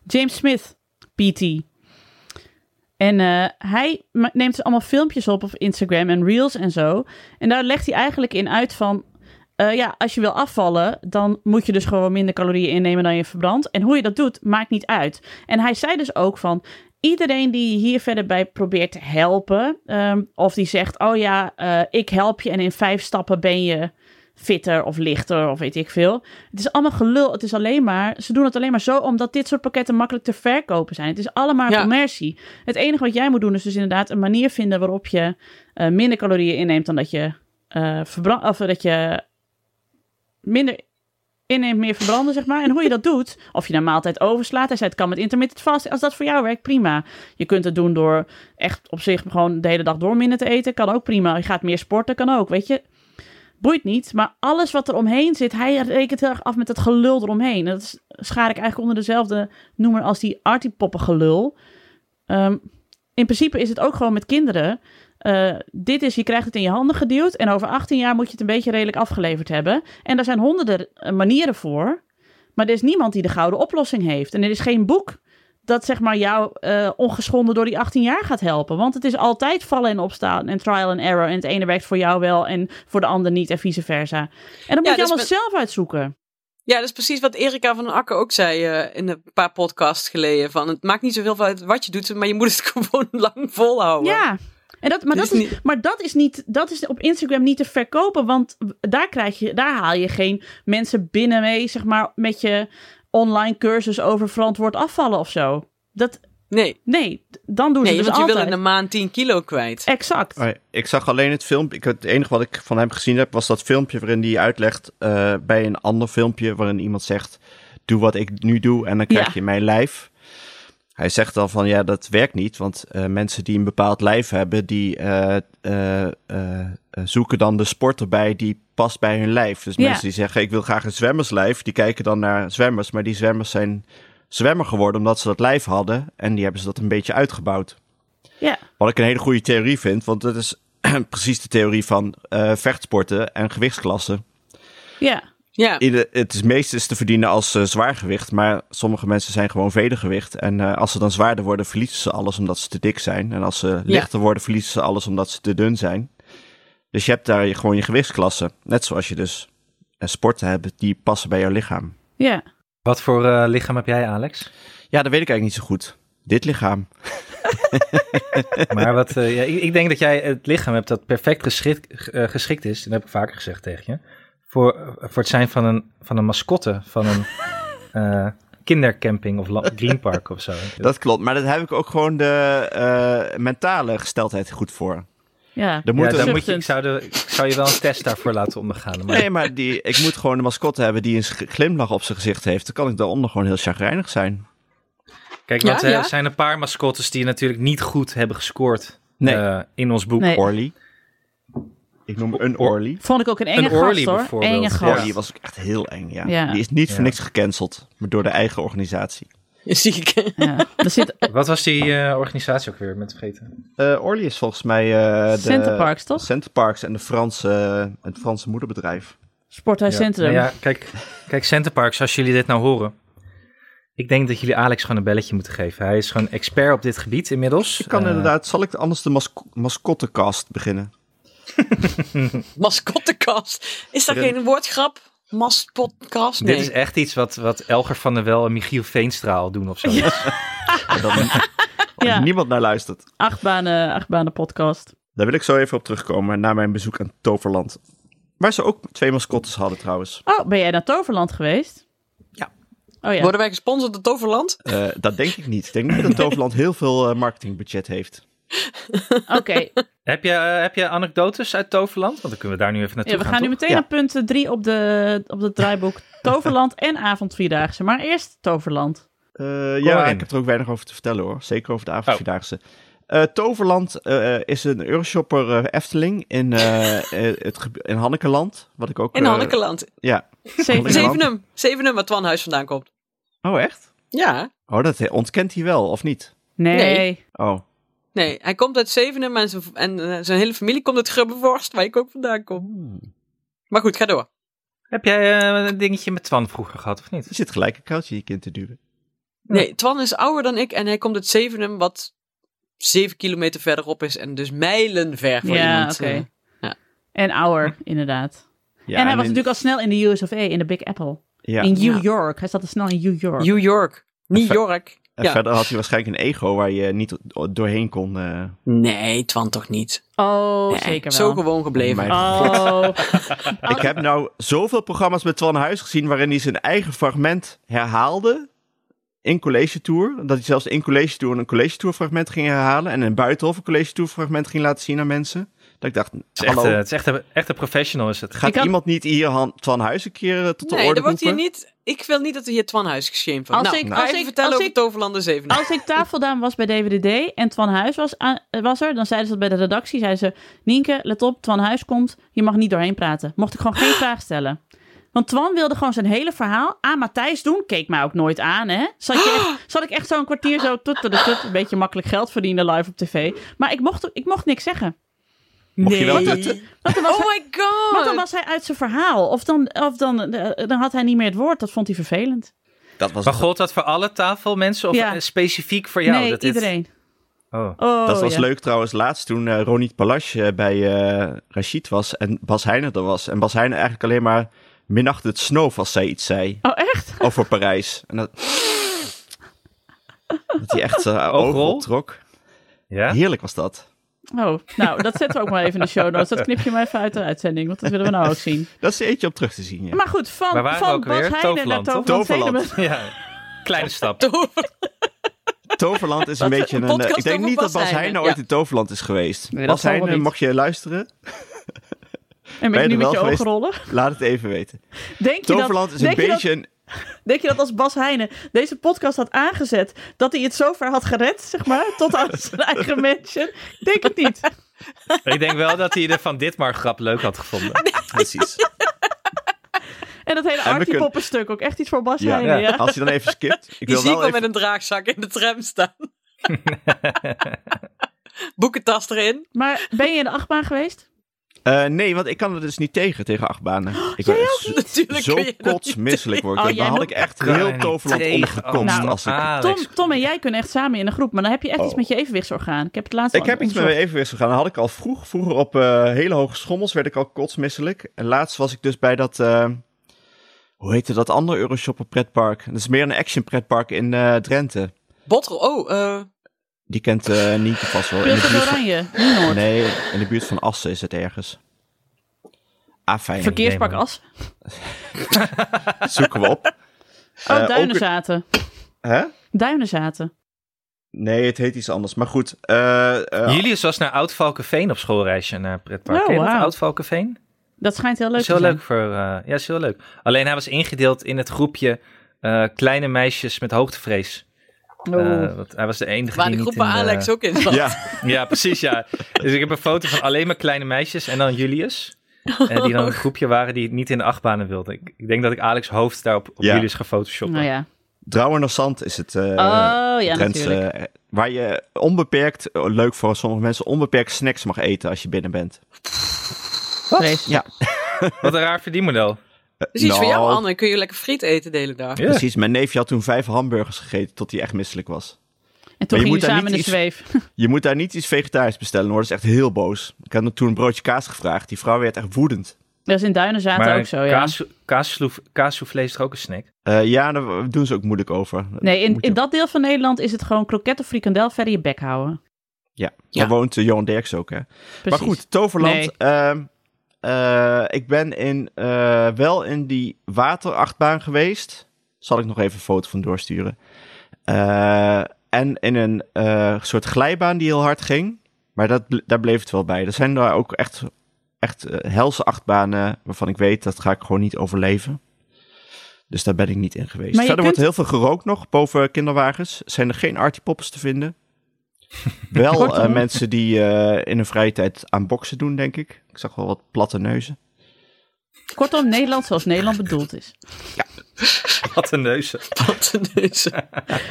Speaker 1: James Smith, PT. En eh, hij ma- neemt dus allemaal filmpjes op op Instagram en Reels en zo. En daar legt hij eigenlijk in uit van... eh, ja, als je wil afvallen, dan moet je dus gewoon minder calorieën innemen dan je verbrandt. En hoe je dat doet, maakt niet uit. En hij zei dus ook van... Iedereen die je hier verder bij probeert te helpen... ehm, of die zegt, oh ja, eh, ik help je en in vijf stappen ben je fitter of lichter of weet ik veel. Het is allemaal gelul. Het is alleen maar. Ze doen het alleen maar zo omdat dit soort pakketten makkelijk te verkopen zijn. Het is allemaal
Speaker 4: Ja.
Speaker 1: commercie. Het enige wat jij moet doen is dus inderdaad een manier vinden waarop je eh, minder calorieën inneemt dan dat je eh verbrandt. Of dat je minder inneemt, meer verbranden, zeg maar. En hoe je dat doet, of je een maaltijd overslaat. Hij zei, het kan met intermittent fasting. Als dat voor jou werkt, prima. Je kunt het doen door echt op zich gewoon de hele dag door minder te eten. Kan ook prima. Je gaat meer sporten, kan ook, weet je. Boeit niet, maar alles wat er omheen zit, hij rekent heel erg af met het gelul eromheen. En Dat is- schaar ik eigenlijk onder dezelfde noemer als die artiepoppen gelul. Ehm, in principe is het ook gewoon met kinderen. Eh, dit is, je krijgt het in je handen geduwd en over 18 jaar moet je het een beetje redelijk afgeleverd hebben. En daar zijn honderden eh, manieren voor, maar er is niemand die de gouden oplossing heeft. En er is geen boek dat zeg maar jou eh, ongeschonden door die 18 jaar gaat helpen. Want het is altijd vallen en opstaan en trial and error. En het ene werkt voor jou wel en voor de ander niet en vice versa. En dat moet je
Speaker 4: dat is
Speaker 1: allemaal
Speaker 4: met-
Speaker 1: zelf uitzoeken.
Speaker 4: Ja, dat is precies wat Erika van den Akker ook zei eh, in een paar podcasts geleden. Van, het maakt niet zoveel uit wat je doet, maar je moet het gewoon lang volhouden.
Speaker 1: Ja. En dat, maar,
Speaker 4: Dit
Speaker 1: dat
Speaker 4: is
Speaker 1: is, maar dat is niet, dat is op Instagram niet te verkopen, want daar, krijg je, daar haal je geen mensen binnen mee, zeg maar, met je online cursus over verantwoord afvallen of zo. Dat,
Speaker 4: Nee,
Speaker 1: nee, d- dan doen ze
Speaker 4: nee
Speaker 1: dus
Speaker 4: want je wil
Speaker 1: altijd.
Speaker 4: in een maand 10 kilo kwijt.
Speaker 1: Exact.
Speaker 3: Oh ja, Ik zag alleen het filmpje. Ik, het enige wat ik van hem gezien heb, was dat filmpje waarin hij uitlegt eh, bij een ander filmpje waarin iemand zegt: Doe wat ik nu doe en dan krijg
Speaker 1: Ja.
Speaker 3: je mijn lijf. Hij zegt dan van ja, dat werkt niet, want eh, mensen die een bepaald lijf hebben, die eh, eh, eh, eh, zoeken dan de sport erbij die past bij hun lijf. Dus
Speaker 1: Ja.
Speaker 3: mensen die zeggen ik wil graag een zwemmerslijf, die kijken dan naar zwemmers, maar die zwemmers zijn zwemmer geworden omdat ze dat lijf hadden en die hebben ze dat een beetje uitgebouwd.
Speaker 1: Ja.
Speaker 3: Wat ik een hele goede theorie vind, want dat is precies de theorie van eh, vechtsporten en gewichtsklassen.
Speaker 1: ja.
Speaker 4: Ja,
Speaker 3: Ieder- het is meestens te verdienen als eh, zwaargewicht, maar sommige mensen zijn gewoon vedergewicht. En eh, als ze dan zwaarder worden, verliezen ze alles omdat ze te dik zijn. En als ze lichter worden, verliezen ze alles omdat ze te dun zijn. Dus je hebt daar je- gewoon je gewichtsklasse. Net zoals je dus eh, sporten hebt die passen bij jouw lichaam.
Speaker 1: ja.
Speaker 2: Wat voor eh, lichaam heb jij, Alex?
Speaker 3: Ja, dat weet ik eigenlijk niet zo goed. Dit lichaam.
Speaker 2: Maar wat, eh, ja, ik, ik denk dat jij het lichaam hebt dat perfect geschikt, eh, geschikt is, dat heb ik vaker gezegd tegen je, voor, eh, voor het zijn van een, van een mascotte, van een eh, kindercamping of la- greenpark of zo.
Speaker 3: Dat klopt, maar dat heb ik ook gewoon de eh, mentale gesteldheid goed voor.
Speaker 1: ja.
Speaker 3: Er moet
Speaker 2: ja,
Speaker 3: een-
Speaker 2: dan moet je,
Speaker 1: Zuchtend.
Speaker 2: ik, zou de, ik zou je wel een test daarvoor laten ondergaan. Maar
Speaker 3: Nee, maar die, ik moet gewoon een mascotte hebben die een sch- glimlach op zijn gezicht heeft. Dan kan ik daaronder gewoon heel chagrijnig zijn.
Speaker 2: kijk,
Speaker 4: Ja,
Speaker 2: want eh,
Speaker 4: ja.
Speaker 2: er zijn een paar mascottes die natuurlijk niet goed hebben gescoord
Speaker 3: Nee.
Speaker 2: eh, in ons boek.
Speaker 1: Nee.
Speaker 3: Orly. Ik noem een
Speaker 2: Or-
Speaker 3: Orly.
Speaker 1: Vond ik ook een enge
Speaker 2: Een Orly
Speaker 1: gast hoor.
Speaker 2: bijvoorbeeld.
Speaker 1: Enge
Speaker 2: Ja.
Speaker 1: gast.
Speaker 3: Orly was ook echt heel eng, ja.
Speaker 1: Ja.
Speaker 3: Die is niet
Speaker 2: Ja.
Speaker 3: voor niks gecanceld, maar door de eigen organisatie.
Speaker 4: zie ik.
Speaker 1: Ja. Er zit
Speaker 2: Wat was die eh, organisatie ook weer met vergeten?
Speaker 3: Eh Orly is volgens mij eh de...
Speaker 1: Centerparks, toch?
Speaker 3: Centerparks en de Franse, eh, het Franse moederbedrijf.
Speaker 1: Sporthuis
Speaker 2: Ja.
Speaker 1: Centrum.
Speaker 2: Nou ja, kijk, kijk Centerparks, als jullie dit nou horen. Ik denk dat jullie Alex gewoon een belletje moeten geven. Hij is gewoon expert op dit gebied inmiddels.
Speaker 3: Ik kan
Speaker 2: Eh,
Speaker 3: inderdaad, zal ik anders de masco mascottenkast beginnen?
Speaker 4: Mascottekast. Is dat
Speaker 3: Erin.
Speaker 4: geen woordgrap? Mascotkast?
Speaker 2: Dit is
Speaker 4: Nee.
Speaker 2: echt iets wat, wat Elger van der Wel en Michiel Veenstraal doen of zo.
Speaker 1: Ja.
Speaker 3: Niemand naar luistert.
Speaker 1: Achtbanen, achtbanen podcast.
Speaker 3: Daar wil ik zo even op terugkomen, na mijn bezoek aan Toverland. Waar ze ook twee mascottes hadden trouwens.
Speaker 1: Oh, ben jij naar Toverland geweest?
Speaker 4: Ja.
Speaker 1: Oh ja.
Speaker 4: Worden wij gesponsord door Toverland?
Speaker 3: Eh, dat denk ik niet. Ik denk niet dat Toverland heel veel eh, marketingbudget heeft.
Speaker 1: Oké.
Speaker 2: heb, je, eh, heb je anekdotes uit Toverland? Want dan kunnen we daar nu even naartoe
Speaker 1: Ja, we gaan nu
Speaker 2: toch?
Speaker 1: meteen
Speaker 3: Ja.
Speaker 1: naar punt eh, drie op, de, op het draaiboek Toverland en avondvierdaagse. Maar eerst Toverland.
Speaker 3: Eh, ja,
Speaker 2: maar in. Oh.
Speaker 3: ik heb er ook weinig over te vertellen hoor. Zeker over de avondvierdaagse. Eh, Toverland eh, is een Euroshopper eh, Efteling in, eh, eh, het gebi- in Hannekeland. Wat ik ook.
Speaker 4: In
Speaker 3: eh,
Speaker 4: Hannekeland.
Speaker 3: Ja.
Speaker 1: Zeven.
Speaker 3: Hannekeland.
Speaker 4: Zevenum. Zevenum, waar Twan Huis vandaan komt.
Speaker 3: Oh, echt?
Speaker 4: Ja.
Speaker 3: Oh, dat ontkent hij wel, of niet?
Speaker 1: Nee.
Speaker 4: Nee.
Speaker 3: Oh.
Speaker 4: Nee, hij komt uit Zevenum en zijn, en eh, zijn hele familie komt uit Grubbevorst, waar ik ook vandaan kom.
Speaker 3: Hmm.
Speaker 4: Maar goed, ga door.
Speaker 2: Heb jij eh, een dingetje met Twan vroeger gehad, of
Speaker 3: Er
Speaker 2: niet?
Speaker 3: zit gelijk een koudje in je kind te duwen.
Speaker 4: Nee, Twan is ouder dan ik en hij komt uit Zevenum, wat zeven kilometer verderop is en dus mijlen ver voor
Speaker 1: Ja,
Speaker 4: iemand.
Speaker 1: oké.
Speaker 4: eh,
Speaker 1: En ouder, inderdaad.
Speaker 3: Ja,
Speaker 1: en hij was
Speaker 3: in-
Speaker 1: natuurlijk al snel in de US of A, in de Big Apple.
Speaker 3: Ja.
Speaker 1: In New
Speaker 4: Ja.
Speaker 1: York. Hij zat al snel in New York.
Speaker 4: New York. New
Speaker 3: Ver-
Speaker 4: York.
Speaker 3: En
Speaker 4: Ja.
Speaker 3: verder had hij waarschijnlijk een ego waar je niet o- doorheen kon. eh,
Speaker 4: Nee, Twan toch niet.
Speaker 1: oh,
Speaker 4: Nee,
Speaker 1: zeker wel.
Speaker 4: Zo gewoon gebleven.
Speaker 3: mijn-
Speaker 1: Oh,
Speaker 3: Ik heb nou zoveel programma's met Twan Huis gezien waarin hij zijn eigen fragment herhaalde in college tour. Dat hij zelfs in college tour een college tour fragment ging herhalen en in buitenhof een college tour fragment ging laten zien aan mensen. Dat ik dacht,
Speaker 2: Het is echt,
Speaker 3: hallo,
Speaker 2: eh, het is echt, een, echt een professional is het.
Speaker 3: gaat
Speaker 1: Ik had-
Speaker 3: iemand niet hier Han- Twan Huis een keer eh, tot de
Speaker 4: nee,
Speaker 3: orde
Speaker 4: dat wordt hier
Speaker 3: roepen?
Speaker 4: niet. Ik wil niet dat we hier Twan Huis geshamed wordt.
Speaker 1: Als
Speaker 4: Nou,
Speaker 1: ik-
Speaker 4: ik,
Speaker 1: als
Speaker 4: even
Speaker 1: ik-
Speaker 4: vertellen
Speaker 1: als
Speaker 4: over
Speaker 1: ik-
Speaker 4: Toverlanden 7.
Speaker 1: als ik tafeldame was bij DWDD en Twan Huis was, aan- was er, dan zeiden ze dat bij de redactie. Zeiden ze, Nienke, let op, Twan Huis komt. Je mag niet doorheen praten. Mocht ik gewoon geen vraag stellen. Want Twan wilde gewoon zijn hele verhaal aan Matthijs doen. Keek mij ook nooit aan, hè. Zat, je echt, zat ik echt zo'n kwartier zo tut, tut, tut, een beetje makkelijk geld verdienen live op tv. Maar ik mocht, ik mocht niks zeggen.
Speaker 3: Mocht je wel
Speaker 4: Nee.
Speaker 3: tutten?
Speaker 1: Want dan was
Speaker 4: Oh my god!
Speaker 1: Want dan was hij uit zijn verhaal. Of dan, of dan, eh, dan had hij niet meer het woord. Dat vond hij vervelend.
Speaker 3: Dat was,
Speaker 2: Maar gold dat voor alle tafelmensen of
Speaker 1: Ja.
Speaker 2: eh, specifiek voor jou?
Speaker 1: nee,
Speaker 2: dat dit-
Speaker 1: iedereen.
Speaker 2: Oh.
Speaker 1: Oh,
Speaker 3: dat was
Speaker 1: ja.
Speaker 3: leuk trouwens laatst toen eh, Ronit Palache eh, bij eh Rachid was en Bas Heijnen er was. En Bas Heijnen eigenlijk alleen maar minachtte het snoof als zij iets zei.
Speaker 1: Oh, echt?
Speaker 3: over Parijs. En dat, dat hij echt zijn ogen
Speaker 2: Oogrol?
Speaker 3: optrok.
Speaker 2: Ja?
Speaker 3: Heerlijk was dat.
Speaker 1: Oh, nou, dat zetten we ook maar even in de show notes. Dat knip je maar even uit de uitzending, want dat willen we nou ook zien.
Speaker 3: Dat is er eentje op terug te zien, ja.
Speaker 1: Maar goed, van,
Speaker 2: Waar waren we
Speaker 1: van
Speaker 2: ook
Speaker 1: Bas
Speaker 2: weer?
Speaker 1: Heijnen
Speaker 2: Toverland,
Speaker 1: naar
Speaker 2: toch?
Speaker 1: Toverland.
Speaker 3: Toverland.
Speaker 1: Zedemen.
Speaker 2: ja, kleine stap.
Speaker 4: Tover-
Speaker 3: Toverland is een
Speaker 4: Dat is
Speaker 3: beetje
Speaker 4: een
Speaker 3: een... eh,
Speaker 4: podcast
Speaker 3: ik denk
Speaker 4: over
Speaker 3: niet dat Bas
Speaker 4: Bas
Speaker 3: Heijnen
Speaker 4: Heijnen,
Speaker 3: ooit
Speaker 4: ja.
Speaker 3: in Toverland is geweest.
Speaker 1: Nee, dat
Speaker 3: Bas
Speaker 1: zal wel
Speaker 3: Heijnen,
Speaker 1: niet.
Speaker 3: mocht je luisteren?
Speaker 1: En
Speaker 3: Ben
Speaker 1: ben
Speaker 3: je
Speaker 1: je nu met
Speaker 3: er wel
Speaker 1: je ogen
Speaker 3: geweest?
Speaker 1: rollen?
Speaker 3: Laat het even weten.
Speaker 1: Denk je
Speaker 3: Toverland
Speaker 1: dat,
Speaker 3: is een
Speaker 1: denk je dat-
Speaker 3: beetje een...
Speaker 1: denk je dat als Bas Heijnen deze podcast had aangezet, dat hij het zo ver had gered, zeg maar, tot aan zijn eigen mensen? Denk het niet.
Speaker 2: Ik denk wel dat hij de Van Ditmar grap leuk had gevonden.
Speaker 3: Precies.
Speaker 1: En dat hele
Speaker 3: kunnen-
Speaker 1: Artie-poppenstuk, ook echt iets voor Bas
Speaker 3: Ja,
Speaker 1: Heijnen, ja.
Speaker 3: Als je dan even skipt. Ik
Speaker 4: Die
Speaker 3: wil
Speaker 4: zie ik
Speaker 3: wel
Speaker 4: wel
Speaker 3: even...
Speaker 4: met een draagzak in de tram staan. Boekentas erin.
Speaker 1: Maar ben je in de achtbaan geweest?
Speaker 3: Eh, nee, want ik kan er dus niet tegen, tegen achtbanen. Ik ben echt
Speaker 4: Natuurlijk
Speaker 3: zo
Speaker 4: kun je dat niet
Speaker 3: kotsmisselijk worden.
Speaker 1: Oh,
Speaker 3: Dan
Speaker 1: jij
Speaker 3: had
Speaker 1: moet-
Speaker 3: ik echt
Speaker 2: Kan
Speaker 3: heel
Speaker 2: niet
Speaker 3: Toverland
Speaker 2: tegen.
Speaker 3: omgekomst
Speaker 1: Nou,
Speaker 3: als ik...
Speaker 2: Alex.
Speaker 1: Tom, Tom en jij kunnen echt samen in een groep, maar dan heb je echt
Speaker 3: Oh.
Speaker 1: iets met je evenwichtsorgaan. Ik heb het laatst
Speaker 3: Ik
Speaker 1: al
Speaker 3: heb iets met mijn
Speaker 1: onderzocht.
Speaker 3: evenwicht gegaan. Dat had ik al vroeg. Vroeger op eh, hele hoge schommels werd ik al kotsmisselijk. En laatst was ik dus bij dat... eh, hoe heette dat andere Euroshopper pretpark? Dat is meer een action pretpark in eh, Drenthe.
Speaker 4: Botrel. Oh, eh,
Speaker 3: Die kent eh Nienke vast wel. In de
Speaker 1: Speelt het
Speaker 3: buurt van,
Speaker 1: oranje? Nienoord.
Speaker 3: nee, in de buurt van Assen is het ergens. Ah, fijn.
Speaker 1: Verkeerspak
Speaker 2: idee, man.
Speaker 1: as.
Speaker 3: Zoeken we op.
Speaker 1: Oh,
Speaker 3: Eh, ook-
Speaker 1: duinenzaten.
Speaker 3: Hè?
Speaker 1: Duinenzaten.
Speaker 3: Nee, het heet iets anders. Maar goed. eh, eh,
Speaker 2: Julius was naar Oud-Valkenveen op schoolreisje naar pretpark.
Speaker 1: Oh,
Speaker 2: Ken je dat,
Speaker 1: wauw.
Speaker 2: Oud-Valkenveen?
Speaker 1: Dat schijnt heel leuk
Speaker 2: is
Speaker 1: te
Speaker 2: heel
Speaker 1: zijn.
Speaker 2: leuk voor. eh, ja, is heel leuk. Alleen hij was ingedeeld in het groepje eh, kleine meisjes met hoogtevrees.
Speaker 1: Oh.
Speaker 2: Eh, want hij was de enige
Speaker 4: waar
Speaker 2: die
Speaker 4: de
Speaker 2: niet
Speaker 4: groep
Speaker 2: in
Speaker 4: waar
Speaker 2: de-
Speaker 4: Alex ook in zat.
Speaker 3: ja,
Speaker 2: Ja, precies, ja. Dus ik heb een foto van alleen maar kleine meisjes en dan Julius. eh, die dan een groepje waren die niet in de achtbanen wilden. Ik, ik denk dat ik Alex hoofd daarop op
Speaker 3: Ja.
Speaker 2: Julius ga photoshoppen.
Speaker 1: nou ja.
Speaker 3: Drouwer naar Zand is het. eh,
Speaker 1: oh, ja,
Speaker 3: Drentse,
Speaker 1: natuurlijk.
Speaker 3: eh, waar je onbeperkt, oh, leuk voor sommige mensen, onbeperkt snacks mag eten als je binnen bent. Eh,
Speaker 1: Vreselijk.
Speaker 2: Wat een raar verdienmodel.
Speaker 4: Dus iets voor
Speaker 3: Nou,
Speaker 4: jou, Anne. Kun je lekker friet eten de hele dag.
Speaker 2: Ja.
Speaker 3: Precies, mijn neefje had toen vijf hamburgers gegeten tot hij echt misselijk was.
Speaker 1: En toen
Speaker 3: je
Speaker 1: ging je
Speaker 3: moet daar
Speaker 1: samen in de
Speaker 3: niet
Speaker 1: zweef.
Speaker 3: Je moet daar niet iets vegetarisch bestellen hoor, dat is echt heel boos. Ik had hem toen een broodje kaas gevraagd, die vrouw werd echt woedend.
Speaker 1: Dat is in duinenzaten ook zo, ja.
Speaker 2: kaas, kaassoufflé- kaassoufflé is toch ook een snack?
Speaker 3: Eh, ja, daar doen ze ook moeilijk over.
Speaker 1: Nee, in,
Speaker 3: Moet je-
Speaker 1: in dat deel van Nederland is het gewoon kroket of frikandel verder je bek houden.
Speaker 3: Ja,
Speaker 4: Ja.
Speaker 3: daar woont eh, Johan Derks ook hè.
Speaker 1: Precies.
Speaker 3: Maar goed, Toverland.
Speaker 1: Nee.
Speaker 3: ehm, eh, ik ben in, eh, wel in die waterachtbaan geweest. Zal ik nog even een foto van doorsturen. Eh, en in een eh, soort glijbaan die heel hard ging. Maar dat, bl- daar bleef het wel bij. Er zijn daar ook echt, echt eh, helse achtbanen waarvan ik weet dat ga ik gewoon niet overleven. Dus daar ben ik niet in geweest.
Speaker 1: Maar je
Speaker 3: Verder
Speaker 1: kunt-
Speaker 3: wordt heel veel gerookt nog boven kinderwagens. Zijn er geen artipoppers te vinden. Wel
Speaker 1: Kortom.
Speaker 3: eh, mensen die eh, in hun vrije tijd aan boksen doen, denk ik. Ik zag wel wat platte neuzen.
Speaker 1: Kortom, Nederland zoals Nederland bedoeld is.
Speaker 2: Wat een neuzen.
Speaker 4: Plateneuzen.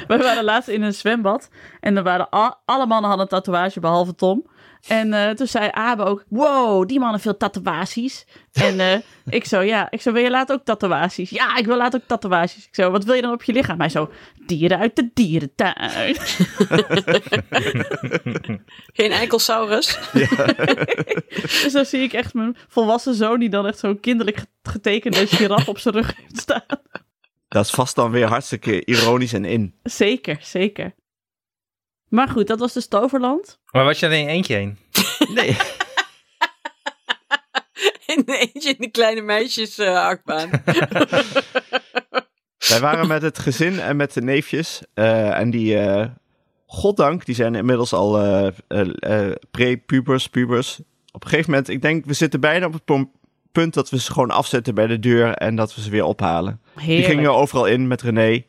Speaker 1: Wij waren laatst in een zwembad. En er waren a- alle mannen hadden een tatoeage, behalve Tom. En eh, toen zei Abe ook, wow, die mannen veel tatoeages. En eh, ik zo, ja, ik zo, wil je later ook tatoeages? Ja, ik wil later ook tatoeages. Ik zo, wat wil je dan op je lichaam? Hij zo, dieren uit de dierentuin.
Speaker 4: Geen enkelsaurus.
Speaker 1: Dus dan zie ik echt mijn volwassen zoon die dan echt zo'n kinderlijk get- getekende giraf op zijn rug heeft staan.
Speaker 3: Dat is vast dan weer hartstikke ironisch en in.
Speaker 1: Zeker, zeker. Maar goed, dat was dus Toverland.
Speaker 2: Maar was je er in eentje heen?
Speaker 3: Nee,
Speaker 4: In de eentje in de kleine meisjes eh, achtbaan.
Speaker 3: wij waren met het gezin en met de neefjes. eh, en die, eh, goddank, die zijn inmiddels al eh, eh, eh, pre-pubers, pubers. Op een gegeven moment, ik denk, we zitten bijna op het pom- punt dat we ze gewoon afzetten bij de deur en dat we ze weer ophalen.
Speaker 1: Heerlijk.
Speaker 3: Die gingen overal in met René.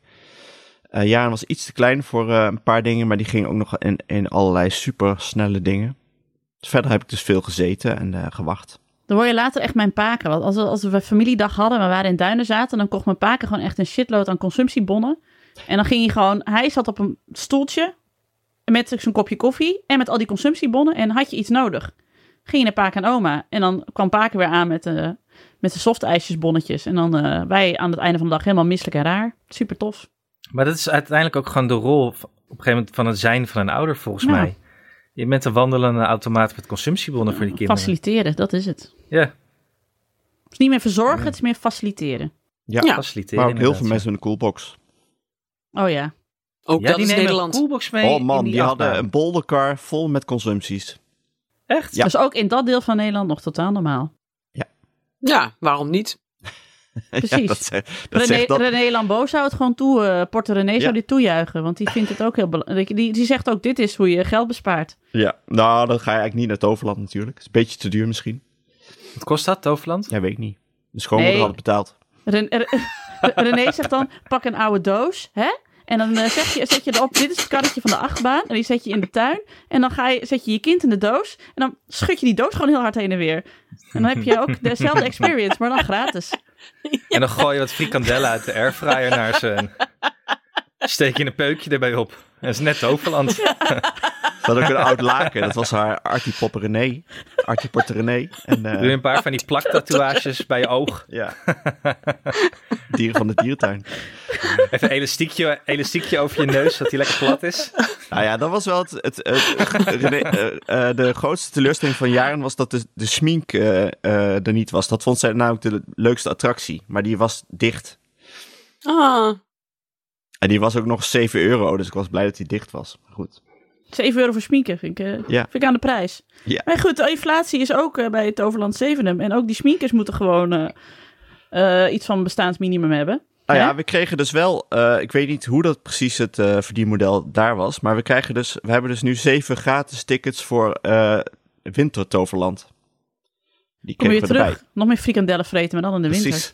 Speaker 3: Eh Jaren was iets te klein voor eh, een paar dingen, maar die ging ook nog in, in allerlei supersnelle dingen. Verder heb ik dus veel gezeten en eh, gewacht.
Speaker 1: Dan word je later echt mijn paken. Want als we, als we familiedag hadden, maar we waren in Duinen zaten, dan kocht mijn paken gewoon echt een shitload aan consumptiebonnen. En dan ging hij gewoon, hij zat op een stoeltje met zijn kopje koffie en met al die consumptiebonnen. En had je iets nodig, ging je naar paken en oma. En dan kwam paken weer aan met de, met de softijsjesbonnetjes. En dan eh, wij aan het einde van de dag helemaal misselijk en raar. Super tof.
Speaker 2: Maar dat is uiteindelijk ook gewoon de rol van- op een gegeven moment van het zijn van een ouder, volgens
Speaker 1: Ja.
Speaker 2: mij. Je bent een wandelende automaat met consumptiebonnen voor die kinderen.
Speaker 1: Faciliteren, dat is het.
Speaker 2: Ja,
Speaker 1: Het is niet meer verzorgen, het is meer faciliteren.
Speaker 3: Ja,
Speaker 4: Ja,
Speaker 2: faciliteren.
Speaker 3: maar ook heel
Speaker 2: inderdaad,
Speaker 3: veel
Speaker 2: ja.
Speaker 3: mensen met een coolbox.
Speaker 1: Oh ja.
Speaker 4: Ook
Speaker 2: Ja,
Speaker 4: dat
Speaker 2: die
Speaker 4: is
Speaker 2: nemen
Speaker 4: Nederland.
Speaker 2: een coolbox mee.
Speaker 3: oh man,
Speaker 2: in
Speaker 3: die, hadden een bolderkar vol met consumpties.
Speaker 2: Echt?
Speaker 3: Ja.
Speaker 1: Dus ook in dat deel van Nederland nog totaal normaal.
Speaker 4: Ja, waarom niet?
Speaker 1: Precies.
Speaker 3: ja, dat ze- dat
Speaker 1: René,
Speaker 3: zegt dat.
Speaker 1: René Lambeau zou het gewoon toe, eh Porto René
Speaker 3: Ja.
Speaker 1: zou dit toejuichen, want die vindt het ook heel belangrijk. Die, die zegt ook, dit is hoe je geld bespaart.
Speaker 3: Ja, nou, dan ga je eigenlijk niet naar Toverland natuurlijk. Is een beetje te duur misschien.
Speaker 2: Wat kost dat, Toverland?
Speaker 3: Ja, weet ik niet. De schoonmoeder
Speaker 1: Nee.
Speaker 3: had het betaald.
Speaker 1: Ren- Re- René zegt dan, pak een oude doos, hè? En dan eh, zeg je, zet je erop, dit is het karretje van de achtbaan, en die zet je in de tuin. En dan ga je, zet je je kind in de doos, en dan schud je die doos gewoon heel hard heen en weer. En dan heb je ook dezelfde experience, maar dan gratis.
Speaker 2: En dan gooi je wat frikandellen uit de airfryer naar ze. en Steek je een peukje erbij op. Dat is net Toverland.
Speaker 3: Ze had ook een oud laken. Dat was haar Artie Pop René. Artie Porter René. En, eh,
Speaker 2: Doe je een paar van die plaktatoeages bij je oog.
Speaker 3: Ja. Dieren van de dierentuin.
Speaker 2: Even een elastiekje, elastiekje over je neus, dat die lekker plat is.
Speaker 3: Nou ja, dat was wel het. het, het- René, eh, eh, de grootste teleurstelling van jaren was dat de, de smink eh, eh, er niet was. Dat vond zij namelijk de leukste attractie. Maar die was dicht.
Speaker 4: Ah,
Speaker 3: En die was ook nog 7 euro. Dus ik was blij dat die dicht was. Maar goed.
Speaker 1: 7 euro voor sminken vind ik, eh,
Speaker 3: Ja.
Speaker 1: vind ik aan de prijs.
Speaker 3: Ja.
Speaker 1: Maar goed, de inflatie is ook eh, bij het Overland Zevenum. En ook die sminkers moeten gewoon eh, eh, iets van bestaansminimum hebben.
Speaker 3: Nou
Speaker 1: Hè?
Speaker 3: ja, we kregen dus wel, eh, ik weet niet hoe dat precies het eh, verdienmodel daar was, maar we krijgen dus, we hebben dus nu zeven gratis tickets voor eh Wintertoverland. Die
Speaker 1: Kom je
Speaker 3: kregen we
Speaker 1: terug.
Speaker 3: erbij.
Speaker 1: Nog meer frikandellen vreten, maar dan in de winter.
Speaker 3: Precies.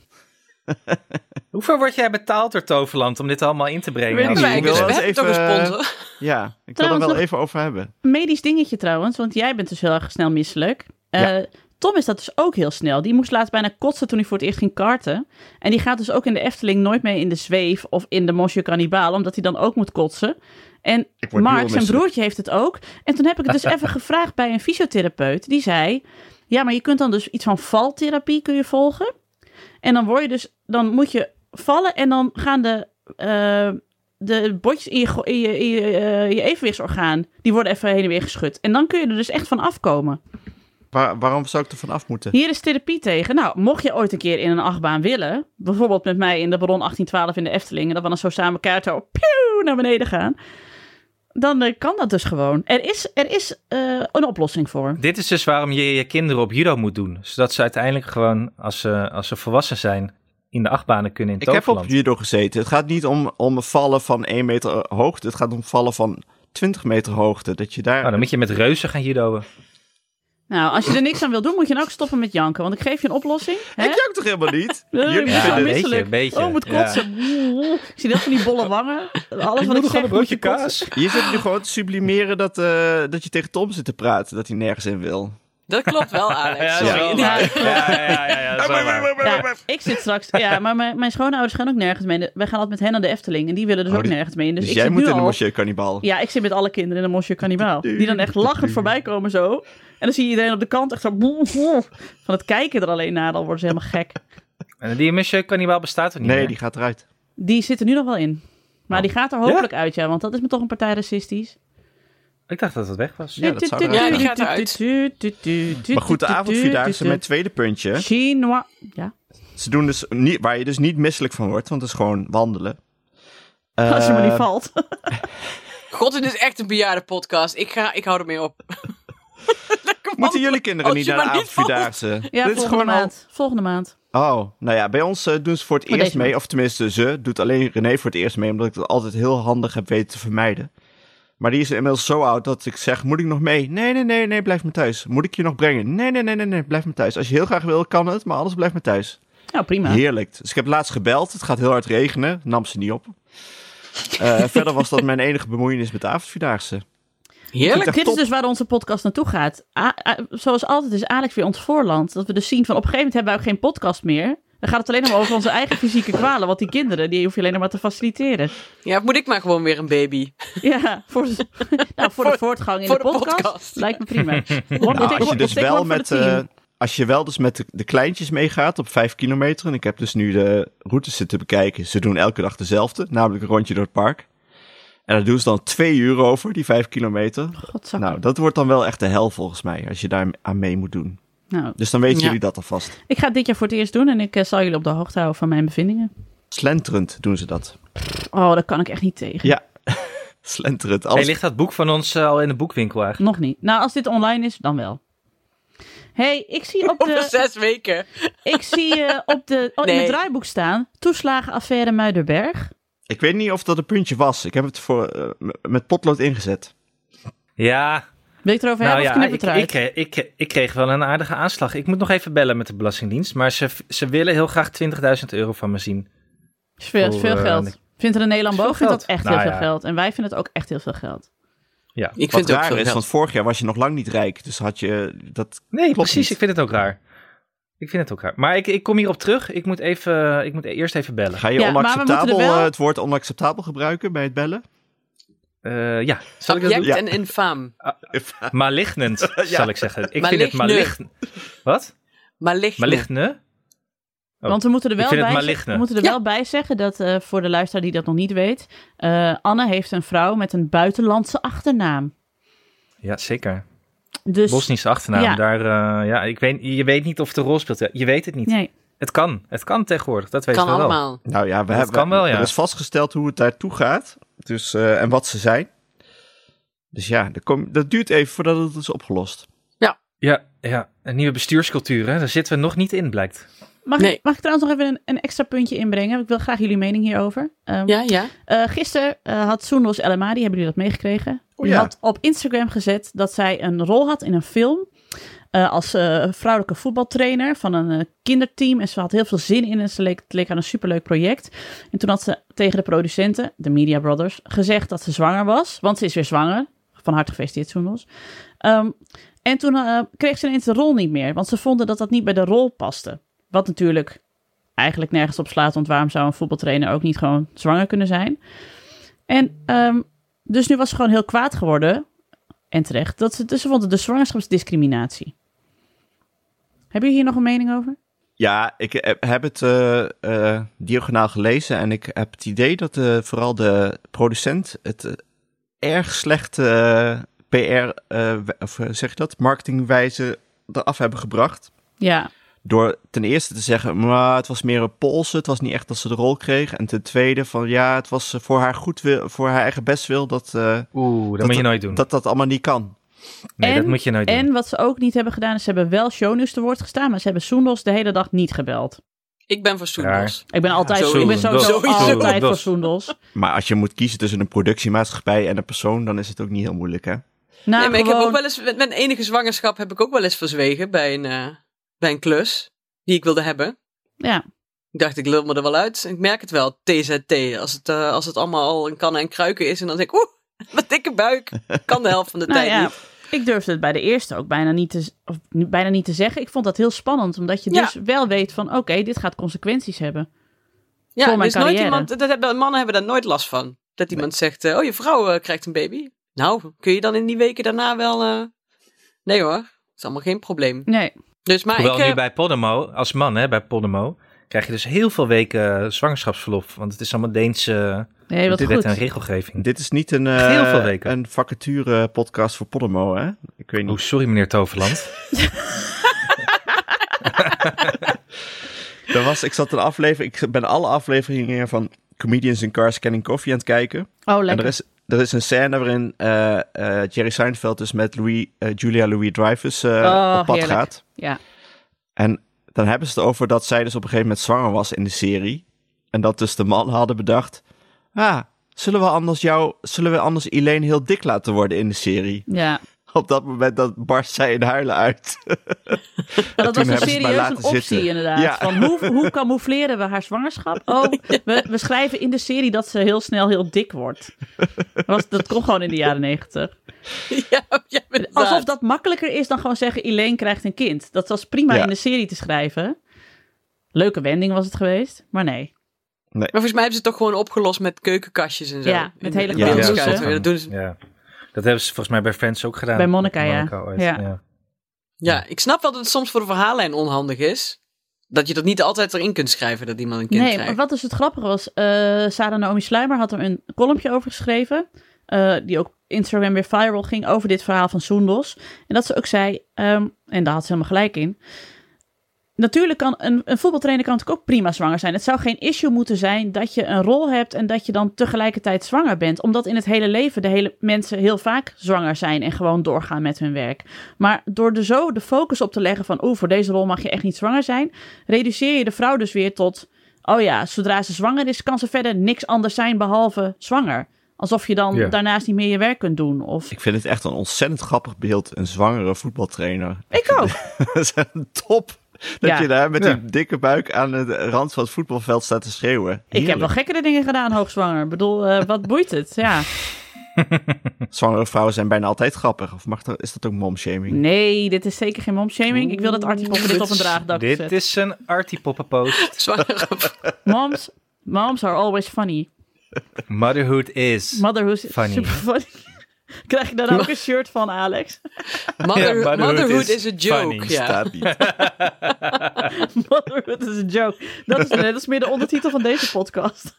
Speaker 2: Hoeveel word jij betaald door Toverland om dit allemaal in te brengen?
Speaker 1: Weet
Speaker 2: Als-
Speaker 1: ik
Speaker 4: wij,
Speaker 3: wil
Speaker 4: dus
Speaker 3: wel
Speaker 4: we
Speaker 3: eens
Speaker 4: hebben toch een
Speaker 3: even, eh,
Speaker 4: sponsor.
Speaker 3: Ja, ik wil er
Speaker 1: Trouwens
Speaker 3: wel
Speaker 1: nog-
Speaker 3: even over hebben.
Speaker 1: Een medisch dingetje trouwens, want jij bent dus heel erg snel misselijk. Eh, Tom is dat dus ook heel snel. Die moest laatst bijna kotsen toen hij voor het eerst ging karten. En die gaat dus ook in de Efteling nooit mee in de zweef of in de Monsieur Cannibal, omdat hij dan ook moet kotsen. En
Speaker 3: Ik word nu al
Speaker 1: Mark, zijn
Speaker 3: misselijk.
Speaker 1: broertje, heeft het ook. En toen heb ik het dus even gevraagd bij een fysiotherapeut. Die zei, ja, maar je kunt dan dus iets van valtherapie kun je volgen. En dan word je dus, dan moet je vallen en dan gaan de, eh, de botjes in je, go- in je, in je, eh, je evenwichtsorgaan, die worden even heen en weer geschud. En dan kun je er dus echt van afkomen.
Speaker 3: Waar- waarom zou ik er van af moeten?
Speaker 1: Hier is therapie tegen. Nou, mocht je ooit een keer in een achtbaan willen, bijvoorbeeld met mij in de Baron 1812 in de Efteling, en dat we dan zo samen elkaar zo pieuw, naar beneden gaan, dan eh, kan dat dus gewoon. Er is, er is eh, een oplossing voor.
Speaker 2: Dit is dus waarom je je kinderen op judo moet doen. Zodat ze uiteindelijk gewoon, als ze, als ze volwassen zijn, in de achtbanen kunnen in
Speaker 3: Ik heb op
Speaker 2: Toverland.
Speaker 3: judo gezeten. Het gaat niet om, om vallen van 1 meter hoogte.
Speaker 1: Oh,
Speaker 3: Het gaat om vallen van 20 meter hoogte. Dat je daar...
Speaker 2: Oh, dan moet je met reuzen gaan judoën.
Speaker 1: Nou, als je er niks aan wil doen, moet je dan ook stoppen met janken. Want ik geef je een oplossing. Hè? Eh,
Speaker 3: Ik jank toch helemaal niet?
Speaker 1: Nee, ik
Speaker 3: Jullie
Speaker 1: ben zo
Speaker 2: Ja, weet
Speaker 3: vinden het.
Speaker 2: je,
Speaker 1: misselijk.
Speaker 2: een beetje.
Speaker 1: Oh, ik moet
Speaker 2: Ja.
Speaker 1: kotsen. Ik zie dat van die bolle wangen. Alles wat ik zeg, moet je kotsen.
Speaker 3: Je zit nu gewoon te sublimeren dat, eh, dat je tegen Tom zit te praten, dat hij nergens in
Speaker 1: Dus
Speaker 3: wil.
Speaker 4: Dat klopt wel, Alex. Sorry.
Speaker 1: wel
Speaker 4: Ja.
Speaker 1: waar.
Speaker 2: Ja, ja, ja, ja, dat is wel waar.
Speaker 1: Ja, ik zit straks. Ja, maar mijn, mijn schoonouders gaan ook nergens mee. Wij gaan altijd met hen naar de Efteling. En die willen dus
Speaker 3: Oh,
Speaker 1: ook
Speaker 3: die-
Speaker 1: nergens mee. in. Dus,
Speaker 3: Dus
Speaker 1: ik
Speaker 3: jij
Speaker 1: zit
Speaker 3: moet
Speaker 1: nu
Speaker 3: in de
Speaker 1: al-
Speaker 3: Monsieur Cannibal.
Speaker 1: Ja, ik zit met alle kinderen in een Monsieur Cannibal. Die dan echt lachend voorbij komen zo. En dan zie je iedereen op de kant echt zo. Van het kijken er alleen naar, dan worden ze helemaal gek.
Speaker 2: En die Monsieur Cannibal bestaat er niet
Speaker 3: Nee,
Speaker 2: meer.
Speaker 3: die gaat eruit.
Speaker 1: Die zit er nu nog wel in. Maar die gaat er hopelijk uit, ja. Want dat is me toch een partij racistisch.
Speaker 2: Ik dacht dat dat weg was.
Speaker 3: Dus Ja, dat zou
Speaker 4: Ja, die gaat eruit.
Speaker 1: Maar
Speaker 3: Maar goed, de avondvierdaagse, mijn tweede puntje.
Speaker 1: Chinois. Ja.
Speaker 3: Ze doen dus niet, waar je dus niet misselijk van wordt, want het is gewoon wandelen.
Speaker 1: Als je maar niet
Speaker 3: Eh,
Speaker 1: valt.
Speaker 4: God, dit is echt een bejaarde podcast. Ik, ga, ik hou ermee op. Lekker
Speaker 3: Moeten
Speaker 4: wandelen.
Speaker 3: jullie kinderen
Speaker 1: Oh,
Speaker 3: niet
Speaker 4: Als je
Speaker 3: naar de
Speaker 4: maar niet valt.
Speaker 3: avondvierdaagse?
Speaker 1: Ja,
Speaker 3: Dit is
Speaker 1: volgende
Speaker 3: gewoon al
Speaker 1: maand. Volgende maand.
Speaker 3: Oh, nou ja, bij ons eh, doen ze voor het
Speaker 1: Voor
Speaker 3: eerst
Speaker 1: deze
Speaker 3: mee.
Speaker 1: maand.
Speaker 3: Of tenminste, ze doet alleen René voor het eerst mee, omdat ik dat altijd heel handig heb weten te vermijden. Maar die is inmiddels zo oud dat ik zeg, moet ik nog mee? Nee, nee, nee, nee, blijf me thuis. Moet ik je nog brengen? Nee, nee, nee, nee, nee, blijf me thuis. Als je heel graag wil, kan het, maar anders blijf me thuis.
Speaker 1: Nou, prima.
Speaker 3: Heerlijk. Dus ik heb laatst gebeld, het gaat heel hard regenen, nam ze niet op. Eh, verder was dat mijn enige bemoeienis met de avondvierdaagse.
Speaker 4: Heerlijk.
Speaker 3: Echt
Speaker 1: Dit is
Speaker 3: top.
Speaker 1: dus waar onze podcast naartoe gaat. A- A- zoals altijd is Alex weer ons voorland. Dat we dus zien van op een gegeven moment hebben we ook geen podcast meer. Dan gaat het alleen maar over onze eigen fysieke kwalen. Want die kinderen, die hoef je alleen maar te faciliteren.
Speaker 3: eh,
Speaker 4: Ja, moet ik maar gewoon weer een baby.
Speaker 1: Ja, voor, nou, voor, de
Speaker 4: Voor-
Speaker 1: voortgang in
Speaker 4: voor
Speaker 1: de,
Speaker 4: de
Speaker 1: podcast,
Speaker 4: podcast.
Speaker 1: lijkt me prima. Wordt-
Speaker 3: Nou,
Speaker 1: wordt-
Speaker 3: als je
Speaker 1: wordt- wordt-
Speaker 3: dus
Speaker 1: wordt
Speaker 3: wel
Speaker 1: voor
Speaker 3: met,
Speaker 1: het team.
Speaker 3: eh, als je wel dus met de, de kleintjes meegaat op 5 kilometer. En ik heb dus nu de routes zitten bekijken. Ze doen elke dag dezelfde, namelijk een rondje door het park. En daar doen ze dan 2 uur over, die 5 kilometer.
Speaker 1: Godzakker.
Speaker 3: Nou, dat wordt dan wel echt de hel volgens mij, als je daar aan mee moet doen.
Speaker 1: Nou,
Speaker 3: Dus dan weten
Speaker 4: Ja.
Speaker 3: jullie dat alvast.
Speaker 1: ik ga het dit jaar voor het eerst doen en ik eh, zal jullie op de hoogte houden van mijn bevindingen.
Speaker 3: Slenterend doen ze dat.
Speaker 1: Oh, dat kan ik echt niet tegen.
Speaker 3: Ja, slenterend.
Speaker 2: Hey,
Speaker 3: Alles...
Speaker 2: ligt dat boek van ons eh, al in de boekwinkel eigenlijk?
Speaker 1: Nog niet. Nou, als dit online is, dan wel. hey, ik zie
Speaker 3: Oh,
Speaker 1: op
Speaker 4: Over
Speaker 1: de...
Speaker 4: zes weken.
Speaker 1: Ik zie eh, op de, oh, in
Speaker 4: Nee.
Speaker 1: het draaiboek staan. Toeslagenaffaire Muiderberg.
Speaker 3: Ik weet niet of dat een puntje was. Ik heb het voor, eh, m- met potlood ingezet.
Speaker 2: Ja,
Speaker 1: Wil je het erover
Speaker 2: nou
Speaker 1: hebben
Speaker 2: ja,
Speaker 1: of knip
Speaker 2: ik,
Speaker 1: het eruit?
Speaker 2: ik, kreeg- ik, kreeg- ik kreeg wel een aardige aanslag. Ik moet nog even bellen met de Belastingdienst, maar ze, ze willen heel graag 20.000 euro van me zien.
Speaker 1: Is veel, is
Speaker 2: Oh,
Speaker 1: veel
Speaker 2: eh,
Speaker 1: geld.
Speaker 2: ik-
Speaker 1: Vindt René Lambo
Speaker 2: veel
Speaker 1: vindt dat
Speaker 2: geld.
Speaker 1: echt
Speaker 2: Nou
Speaker 1: heel
Speaker 2: ja.
Speaker 1: veel geld. En wij vinden het ook echt heel veel geld.
Speaker 2: Ja.
Speaker 4: Ik
Speaker 3: Wat
Speaker 4: vind het ook
Speaker 3: raar
Speaker 4: veel
Speaker 3: is,
Speaker 4: geld.
Speaker 3: want vorig jaar was je nog lang niet rijk. Dus had je dat...
Speaker 2: Nee, precies.
Speaker 3: niet.
Speaker 2: Ik vind het ook raar. Ik vind het ook raar. Maar ik, ik kom hierop terug. Ik moet, even, ik moet eerst even bellen.
Speaker 3: Ga je
Speaker 1: Ja, maar we
Speaker 3: onacceptabel,
Speaker 1: moeten er wel-
Speaker 3: eh, het woord onacceptabel gebruiken bij het bellen?
Speaker 2: Eh, ja, zal ik dat
Speaker 4: Abject
Speaker 2: doen?
Speaker 3: Ja.
Speaker 4: en infaam.
Speaker 2: Malignend, zal ik zeggen. Ik vind het
Speaker 4: Maligne.
Speaker 2: malign... Wat?
Speaker 4: Maar ligt.
Speaker 2: Maligne? Oh,
Speaker 1: Want we moeten er
Speaker 2: ik
Speaker 1: wel,
Speaker 2: vind het
Speaker 1: bij,
Speaker 2: maligne.
Speaker 1: we moeten er
Speaker 4: Ja.
Speaker 1: wel bij zeggen dat eh, voor de luisteraar die dat nog niet weet. eh, Anne heeft een vrouw met een buitenlandse achternaam.
Speaker 2: Ja, zeker.
Speaker 1: Dus,
Speaker 2: Bosnische achternaam.
Speaker 1: Ja.
Speaker 2: Daar, eh, ja, ik weet, je weet niet of het een rol speelt. Je weet het niet.
Speaker 1: Nee,
Speaker 2: Het kan. Het kan tegenwoordig. Dat weten
Speaker 4: Kan
Speaker 2: we wel.
Speaker 4: allemaal.
Speaker 3: Nou ja, we
Speaker 2: Dat
Speaker 3: hebben,
Speaker 2: kan wel, ja.
Speaker 3: er is vastgesteld hoe het daartoe gaat dus, eh, en wat ze zijn. Dus ja, dat, kom- dat duurt even voordat het is opgelost.
Speaker 2: Ja, ja, een nieuwe bestuurscultuur. Hè? Daar zitten we nog niet in, blijkt.
Speaker 1: Mag,
Speaker 4: Nee.
Speaker 1: Ik, mag ik trouwens nog even een, een extra puntje inbrengen? Ik wil graag jullie mening hierover. Ehm,
Speaker 4: Ja, ja.
Speaker 1: Eh, gisteren eh, had Soendos El Amadi, hebben jullie dat meegekregen?
Speaker 3: O,
Speaker 1: Die
Speaker 3: Oh ja.
Speaker 1: had op Instagram gezet dat zij een rol had in een film. eh, als eh, vrouwelijke voetbaltrainer van een eh, kinderteam. En ze had heel veel zin in en ze leek, het leek aan een superleuk project. En toen had ze tegen de producenten, de Media Brothers, gezegd dat ze zwanger was. Want ze is weer zwanger. Van harte gefeliciteerd, Soendos. Ehm, en toen eh, kreeg ze ineens de rol niet meer. Want ze vonden dat dat niet bij de rol paste. Wat natuurlijk eigenlijk nergens op slaat. Want waarom zou een voetbaltrainer ook niet gewoon zwanger kunnen zijn? En ehm, dus nu was ze gewoon heel kwaad geworden. En terecht. Dat ze, dus ze vond het de zwangerschapsdiscriminatie. Hebben jullie hier nog een mening over?
Speaker 3: Ja, ik heb- heb het eh, eh, diagonaal gelezen en ik heb het idee dat eh, vooral de producent het eh, erg slecht eh, PR, eh, we- of eh, zeg je dat, marketingwijze eraf hebben gebracht.
Speaker 1: Ja,
Speaker 3: Door ten eerste te zeggen, maar het was meer een polsen, het was niet echt dat ze de rol kreeg. En ten tweede van, ja, het was eh, voor haar goed wil, voor haar eigen best wil dat, eh,
Speaker 2: Oeh, dat,
Speaker 3: dat
Speaker 2: moet je nooit doen.
Speaker 3: dat dat allemaal niet kan.
Speaker 2: nee, dat
Speaker 1: en-
Speaker 2: moet je nooit doen.
Speaker 1: en wat ze ook niet hebben gedaan, is ze hebben wel shownieuws te woord gestaan, maar ze hebben Soendos de hele dag niet gebeld.
Speaker 4: Ik ben voor Soendos.
Speaker 1: Ik ben altijd,
Speaker 4: Zo-
Speaker 1: ik ben sowieso
Speaker 4: Sowieso.
Speaker 1: altijd voor
Speaker 2: Soendos.
Speaker 1: Soendos.
Speaker 3: Maar als je moet kiezen tussen een productiemaatschappij en een persoon, dan is het ook niet heel moeilijk, hè?
Speaker 1: Nou,
Speaker 4: nee, maar ik heb
Speaker 1: gewoon-
Speaker 4: ook wel eens, met mijn enige zwangerschap heb ik ook wel eens verzwegen bij een, eh, bij een klus die ik wilde hebben.
Speaker 1: Ja,
Speaker 4: Ik dacht, ik lul me er wel uit. Ik merk het wel, TZT. Als het, eh, als het allemaal al in kannen en kruiken is en dan denk ik, oeh, wat dikke buik. Kan de helft van de
Speaker 1: nou
Speaker 4: tijd
Speaker 1: ja.
Speaker 4: niet.
Speaker 1: Ik durfde het bij de eerste ook bijna niet, te, z- of, n- bijna niet te zeggen. Ik vond dat heel spannend, omdat je
Speaker 4: Ja.
Speaker 1: dus wel weet van... oké, dit gaat consequenties hebben.
Speaker 4: Ja,
Speaker 1: voor mijn
Speaker 4: er is nooit
Speaker 1: carrière.
Speaker 4: iemand, dat hebben, mannen hebben daar nooit last van. Dat iemand zegt, eh, oh, je vrouw eh, krijgt een baby. Nou, kun je dan in die weken daarna wel... eh, Nee hoor, dat is allemaal geen probleem.
Speaker 1: Nee,
Speaker 4: Dus maar
Speaker 2: Hoewel
Speaker 4: ik... eh,
Speaker 2: nu bij Podemo, als man hè, bij Podemo, krijg je dus heel veel weken eh, zwangerschapsverlof. Want het is allemaal Deense
Speaker 1: nee wat
Speaker 2: dit
Speaker 1: goed.
Speaker 2: wet en regelgeving.
Speaker 3: Dit is niet een,
Speaker 2: Heel veel
Speaker 3: eh
Speaker 2: weken.
Speaker 3: een vacature podcast voor Podemo, hè? Ik weet
Speaker 2: Oh,
Speaker 3: niet.
Speaker 2: sorry meneer Toverland.
Speaker 3: Er was, ik zat een aflevering, ik ben alle afleveringen van Comedians in Cars Canning Coffee aan het kijken.
Speaker 1: Oh,
Speaker 3: En er
Speaker 1: lekker.
Speaker 3: is, er is een scène waarin eh, eh, Jerry Seinfeld dus met Louis, eh, Julia Louis-Dreyfus eh,
Speaker 1: Oh,
Speaker 3: op pad
Speaker 1: heerlijk.
Speaker 3: gaat.
Speaker 1: Ja.
Speaker 3: En dan hebben ze het over dat zij dus op een gegeven moment zwanger was in de serie. En dat dus de man hadden bedacht, ah, zullen we anders jou, zullen we anders Elaine heel dik laten worden in de serie?
Speaker 1: Ja,
Speaker 3: Op dat moment dat barst zij in huilen uit.
Speaker 1: maar dat
Speaker 3: toen
Speaker 1: was
Speaker 3: hebben
Speaker 1: een
Speaker 3: ze het maar
Speaker 1: serieus een
Speaker 3: laten
Speaker 1: optie
Speaker 3: zitten.
Speaker 1: inderdaad.
Speaker 3: Ja.
Speaker 1: Van hoe, hoe camoufleren we haar zwangerschap? Oh, we, we schrijven in de serie dat ze heel snel heel dik wordt. Dat, was, dat kon gewoon in de jaren negentig.
Speaker 4: ja, ja, inderdaad.
Speaker 1: Alsof dat makkelijker is dan gewoon zeggen Elaine krijgt een kind. Dat was prima
Speaker 3: Ja.
Speaker 1: in de serie te schrijven. Leuke wending was het geweest, maar nee.
Speaker 4: Maar volgens mij hebben ze het toch gewoon opgelost met keukenkastjes en zo.
Speaker 1: Ja, met
Speaker 4: In-
Speaker 1: hele
Speaker 4: in
Speaker 1: Ja,
Speaker 4: beeld
Speaker 1: ja,
Speaker 4: schuiven.
Speaker 1: dat
Speaker 4: Ja, dat doen ze.
Speaker 2: Ja. Dat hebben ze volgens mij bij Friends ook gedaan.
Speaker 1: Bij Monica, ja.
Speaker 2: ooit,
Speaker 1: Ja.
Speaker 4: Ja, ik snap wel dat het soms voor de verhaallijn onhandig is. Dat je dat niet altijd erin kunt schrijven dat iemand een kind
Speaker 1: Nee, maar
Speaker 4: krijgt.
Speaker 1: wat dus het grappige was, eh Sarah Naomi Sluimer had er een columnje over geschreven, eh, die ook op Instagram weer viral ging over dit verhaal van Soendos. En dat ze ook zei, ehm, en daar had ze helemaal gelijk in, natuurlijk kan een, een voetbaltrainer kan natuurlijk ook prima zwanger zijn. Het zou geen issue moeten zijn dat je een rol hebt en dat je dan tegelijkertijd zwanger bent. Omdat in het hele leven de hele mensen heel vaak zwanger zijn en gewoon doorgaan met hun werk. Maar door er zo de focus op te leggen van, oeh, voor deze rol mag je echt niet zwanger zijn, reduceer je de vrouw dus weer tot, oh ja, zodra ze zwanger is, kan ze verder niks anders zijn behalve zwanger. Alsof je dan
Speaker 2: Ja.
Speaker 1: daarnaast niet meer je werk kunt doen. Of...
Speaker 3: Ik vind het echt een ontzettend grappig beeld, een zwangere voetbaltrainer.
Speaker 1: Ik ook.
Speaker 3: Dat is echt top. Dat
Speaker 1: Ja.
Speaker 3: je daar met
Speaker 2: Ja.
Speaker 3: die dikke buik aan de rand van het voetbalveld staat te schreeuwen.
Speaker 1: Ik heb
Speaker 3: Heerlijk.
Speaker 1: wel gekkere dingen gedaan, hoogzwanger. Ik bedoel, eh, wat boeit het? Ja.
Speaker 3: Zwangere vrouwen zijn bijna altijd grappig. Of mag dat, is dat ook momshaming?
Speaker 1: Nee, dit is zeker geen momshaming. Ik wil dat artikel voor dit op een draagdak
Speaker 2: Dit
Speaker 1: zetten.
Speaker 2: is een artiepoppenpost.
Speaker 4: Zwangere
Speaker 1: Moms, moms are always funny.
Speaker 2: Motherhood is.
Speaker 1: Motherhood is
Speaker 2: Funny.
Speaker 1: super funny. Krijg ik daar ook een shirt van, Alex?
Speaker 4: Mother-
Speaker 2: Ja, motherhood is
Speaker 4: motherhood is a joke.
Speaker 2: funny.
Speaker 4: ja.
Speaker 3: Staat niet.
Speaker 1: Motherhood is a joke. Dat is, nee, dat is meer de ondertitel van deze podcast.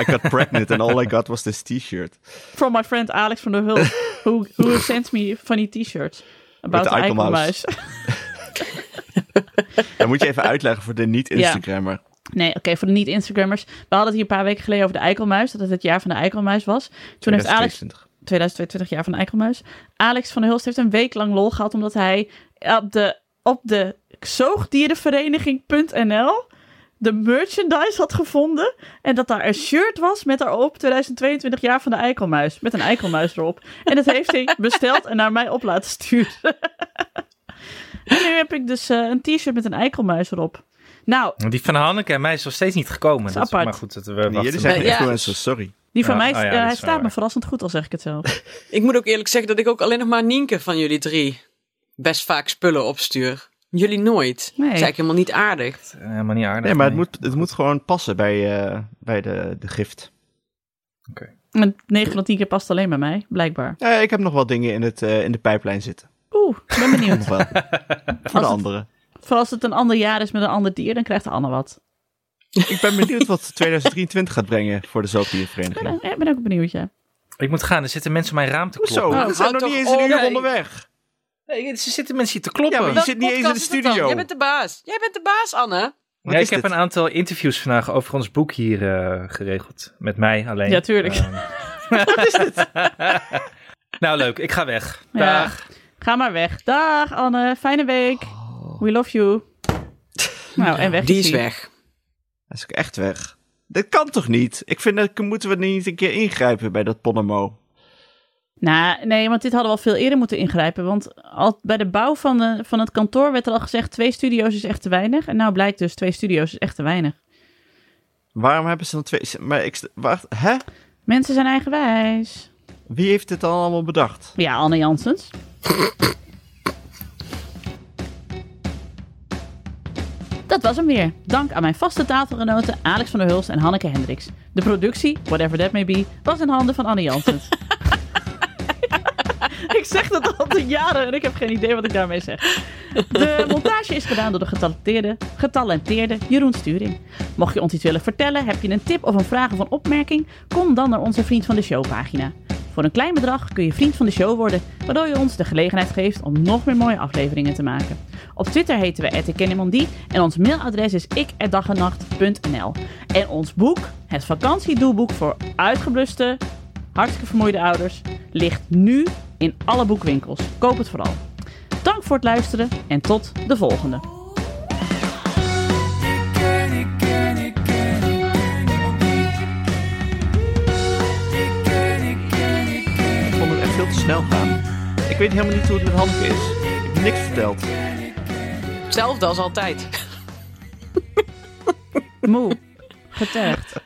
Speaker 3: I got pregnant and all I got was this t-shirt.
Speaker 1: From my friend Alex van der Hulp. Who, who sent me funny t-shirts. About
Speaker 3: de
Speaker 1: the
Speaker 3: eikelmuis.
Speaker 1: eikelmuis.
Speaker 3: Dat moet je even uitleggen voor de niet-Instagrammer.
Speaker 1: Nee, oké, voor de niet-Instagrammers. We hadden het hier een paar weken geleden over de eikelmuis. Dat het het jaar van de eikelmuis was. Toen heeft Alex
Speaker 3: 2022.
Speaker 1: 2022 jaar van de Eikelmuis. Alex van der Hulst heeft een week lang lol gehad omdat hij op de, op de zoogdierenvereniging.nl de merchandise had gevonden en dat daar een shirt was met daarop 2022 jaar van de Eikelmuis met een Eikelmuis erop. En dat heeft hij besteld en naar mij op laten sturen. en nu heb ik dus eh, een t-shirt met een Eikelmuis erop. Nou,
Speaker 2: Die van Hanneke en mij is nog steeds niet gekomen.
Speaker 1: is
Speaker 2: Dat is
Speaker 1: apart.
Speaker 2: maar goed, dat we wachten.
Speaker 3: Nee, jullie
Speaker 4: Eh,
Speaker 3: zijn
Speaker 4: ja.
Speaker 3: influencers, sorry.
Speaker 1: die van
Speaker 2: Ja,
Speaker 1: mij
Speaker 2: oh ja,
Speaker 1: eh,
Speaker 2: dat is
Speaker 1: hij
Speaker 2: wel
Speaker 1: staat me
Speaker 2: waar.
Speaker 1: verrassend goed, al zeg ik het zelf.
Speaker 4: Ik moet ook eerlijk zeggen dat ik ook alleen nog maar Nienke van jullie drie best vaak spullen opstuur. Jullie nooit.
Speaker 1: Nee.
Speaker 4: Dat is eigenlijk helemaal niet aardig.
Speaker 2: Helemaal niet aardig.
Speaker 3: Nee, maar het moet, het moet gewoon passen bij, eh, bij de, de gift.
Speaker 1: En 9 van 10 keer past alleen bij mij, blijkbaar.
Speaker 3: Ja, Eh, ik heb nog wel dingen in, het, eh, in de pijplijn zitten.
Speaker 1: Oeh, ik ben benieuwd.
Speaker 3: Nog wel. voor de
Speaker 1: het-
Speaker 3: anderen.
Speaker 1: Vooral als het een ander jaar is met een ander dier, dan krijgt Anne wat.
Speaker 3: Ik ben benieuwd wat 2023 gaat brengen voor de
Speaker 1: Ik ben,
Speaker 3: zoogdiervereniging.
Speaker 1: ik ben ook benieuwd, ja.
Speaker 2: Ik moet gaan, er zitten mensen op mijn raam te kloppen.
Speaker 3: Hoezo?
Speaker 4: Nou,
Speaker 3: we zijn
Speaker 4: houd
Speaker 3: nog niet
Speaker 4: toch
Speaker 3: eens een
Speaker 4: op.
Speaker 3: uur
Speaker 4: Nee.
Speaker 3: onderweg.
Speaker 2: Nee, er zitten mensen hier te kloppen.
Speaker 3: Ja, maar je
Speaker 4: Welke
Speaker 3: zit niet eens in de
Speaker 4: podcast is het dan?
Speaker 3: studio.
Speaker 4: Jij bent de baas. Jij bent de baas, Anne.
Speaker 3: Wat
Speaker 2: Ja,
Speaker 3: is
Speaker 2: ik heb
Speaker 3: dit?
Speaker 2: een aantal interviews vandaag over ons boek hier eh, geregeld. Met mij alleen.
Speaker 1: Ja, tuurlijk.
Speaker 2: Ehm. nou, leuk. Ik ga weg.
Speaker 1: Ja.
Speaker 2: Dag.
Speaker 1: Ga maar weg. Dag Anne, fijne week. We love you. Nou, en weg.
Speaker 4: Oh. Die is
Speaker 1: hij.
Speaker 4: weg.
Speaker 3: Hij is ook echt weg. Dat kan toch niet? Ik vind dat moeten we niet een keer ingrijpen bij dat Podemo.
Speaker 1: Nou, nee, want dit hadden we al veel eerder moeten ingrijpen. Want al, bij de bouw van, de, van het kantoor werd er al gezegd... twee studio's is echt te weinig. En nou blijkt dus, twee studio's is echt te weinig.
Speaker 3: Waarom hebben ze dan twee... Maar ik... Wacht, hè?
Speaker 1: Mensen zijn eigenwijs.
Speaker 3: Wie heeft dit dan allemaal bedacht?
Speaker 1: Ja, Anne Janssens. Dat was hem weer. Dank aan mijn vaste tafelgenoten Alex van der Hulst en Hanneke Hendricks. De productie, whatever that may be, was in handen van Anne Janssens. ik zeg dat al te jaren en ik heb geen idee wat ik daarmee zeg. De montage is gedaan door de getalenteerde, getalenteerde Jeroen Sturing. Mocht je ons iets willen vertellen, heb je een tip of een vraag of een opmerking, kom dan naar onze Vriend van de Show pagina. Voor een klein bedrag kun je vriend van de show worden, waardoor je ons de gelegenheid geeft om nog meer mooie afleveringen te maken. Op Twitter heten we @ikkennemondie en ons mailadres is ik@dagennacht.nl. En ons boek, het vakantiedoelboek voor uitgebluste, hartstikke vermoeide ouders, ligt nu in alle boekwinkels. Koop het vooral. Dank voor het luisteren en tot de volgende.
Speaker 5: Ik ken, ik ken, ik ken, ik ken niemand die. Ik ken, ik ken, ik ken,
Speaker 3: Ik vond het echt veel te snel gaan. Ik weet helemaal niet hoe het met Hanneke is. Ik heb niks verteld.
Speaker 4: Hetzelfde als altijd.
Speaker 1: Moe. Getergd.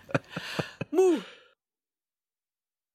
Speaker 4: Moe.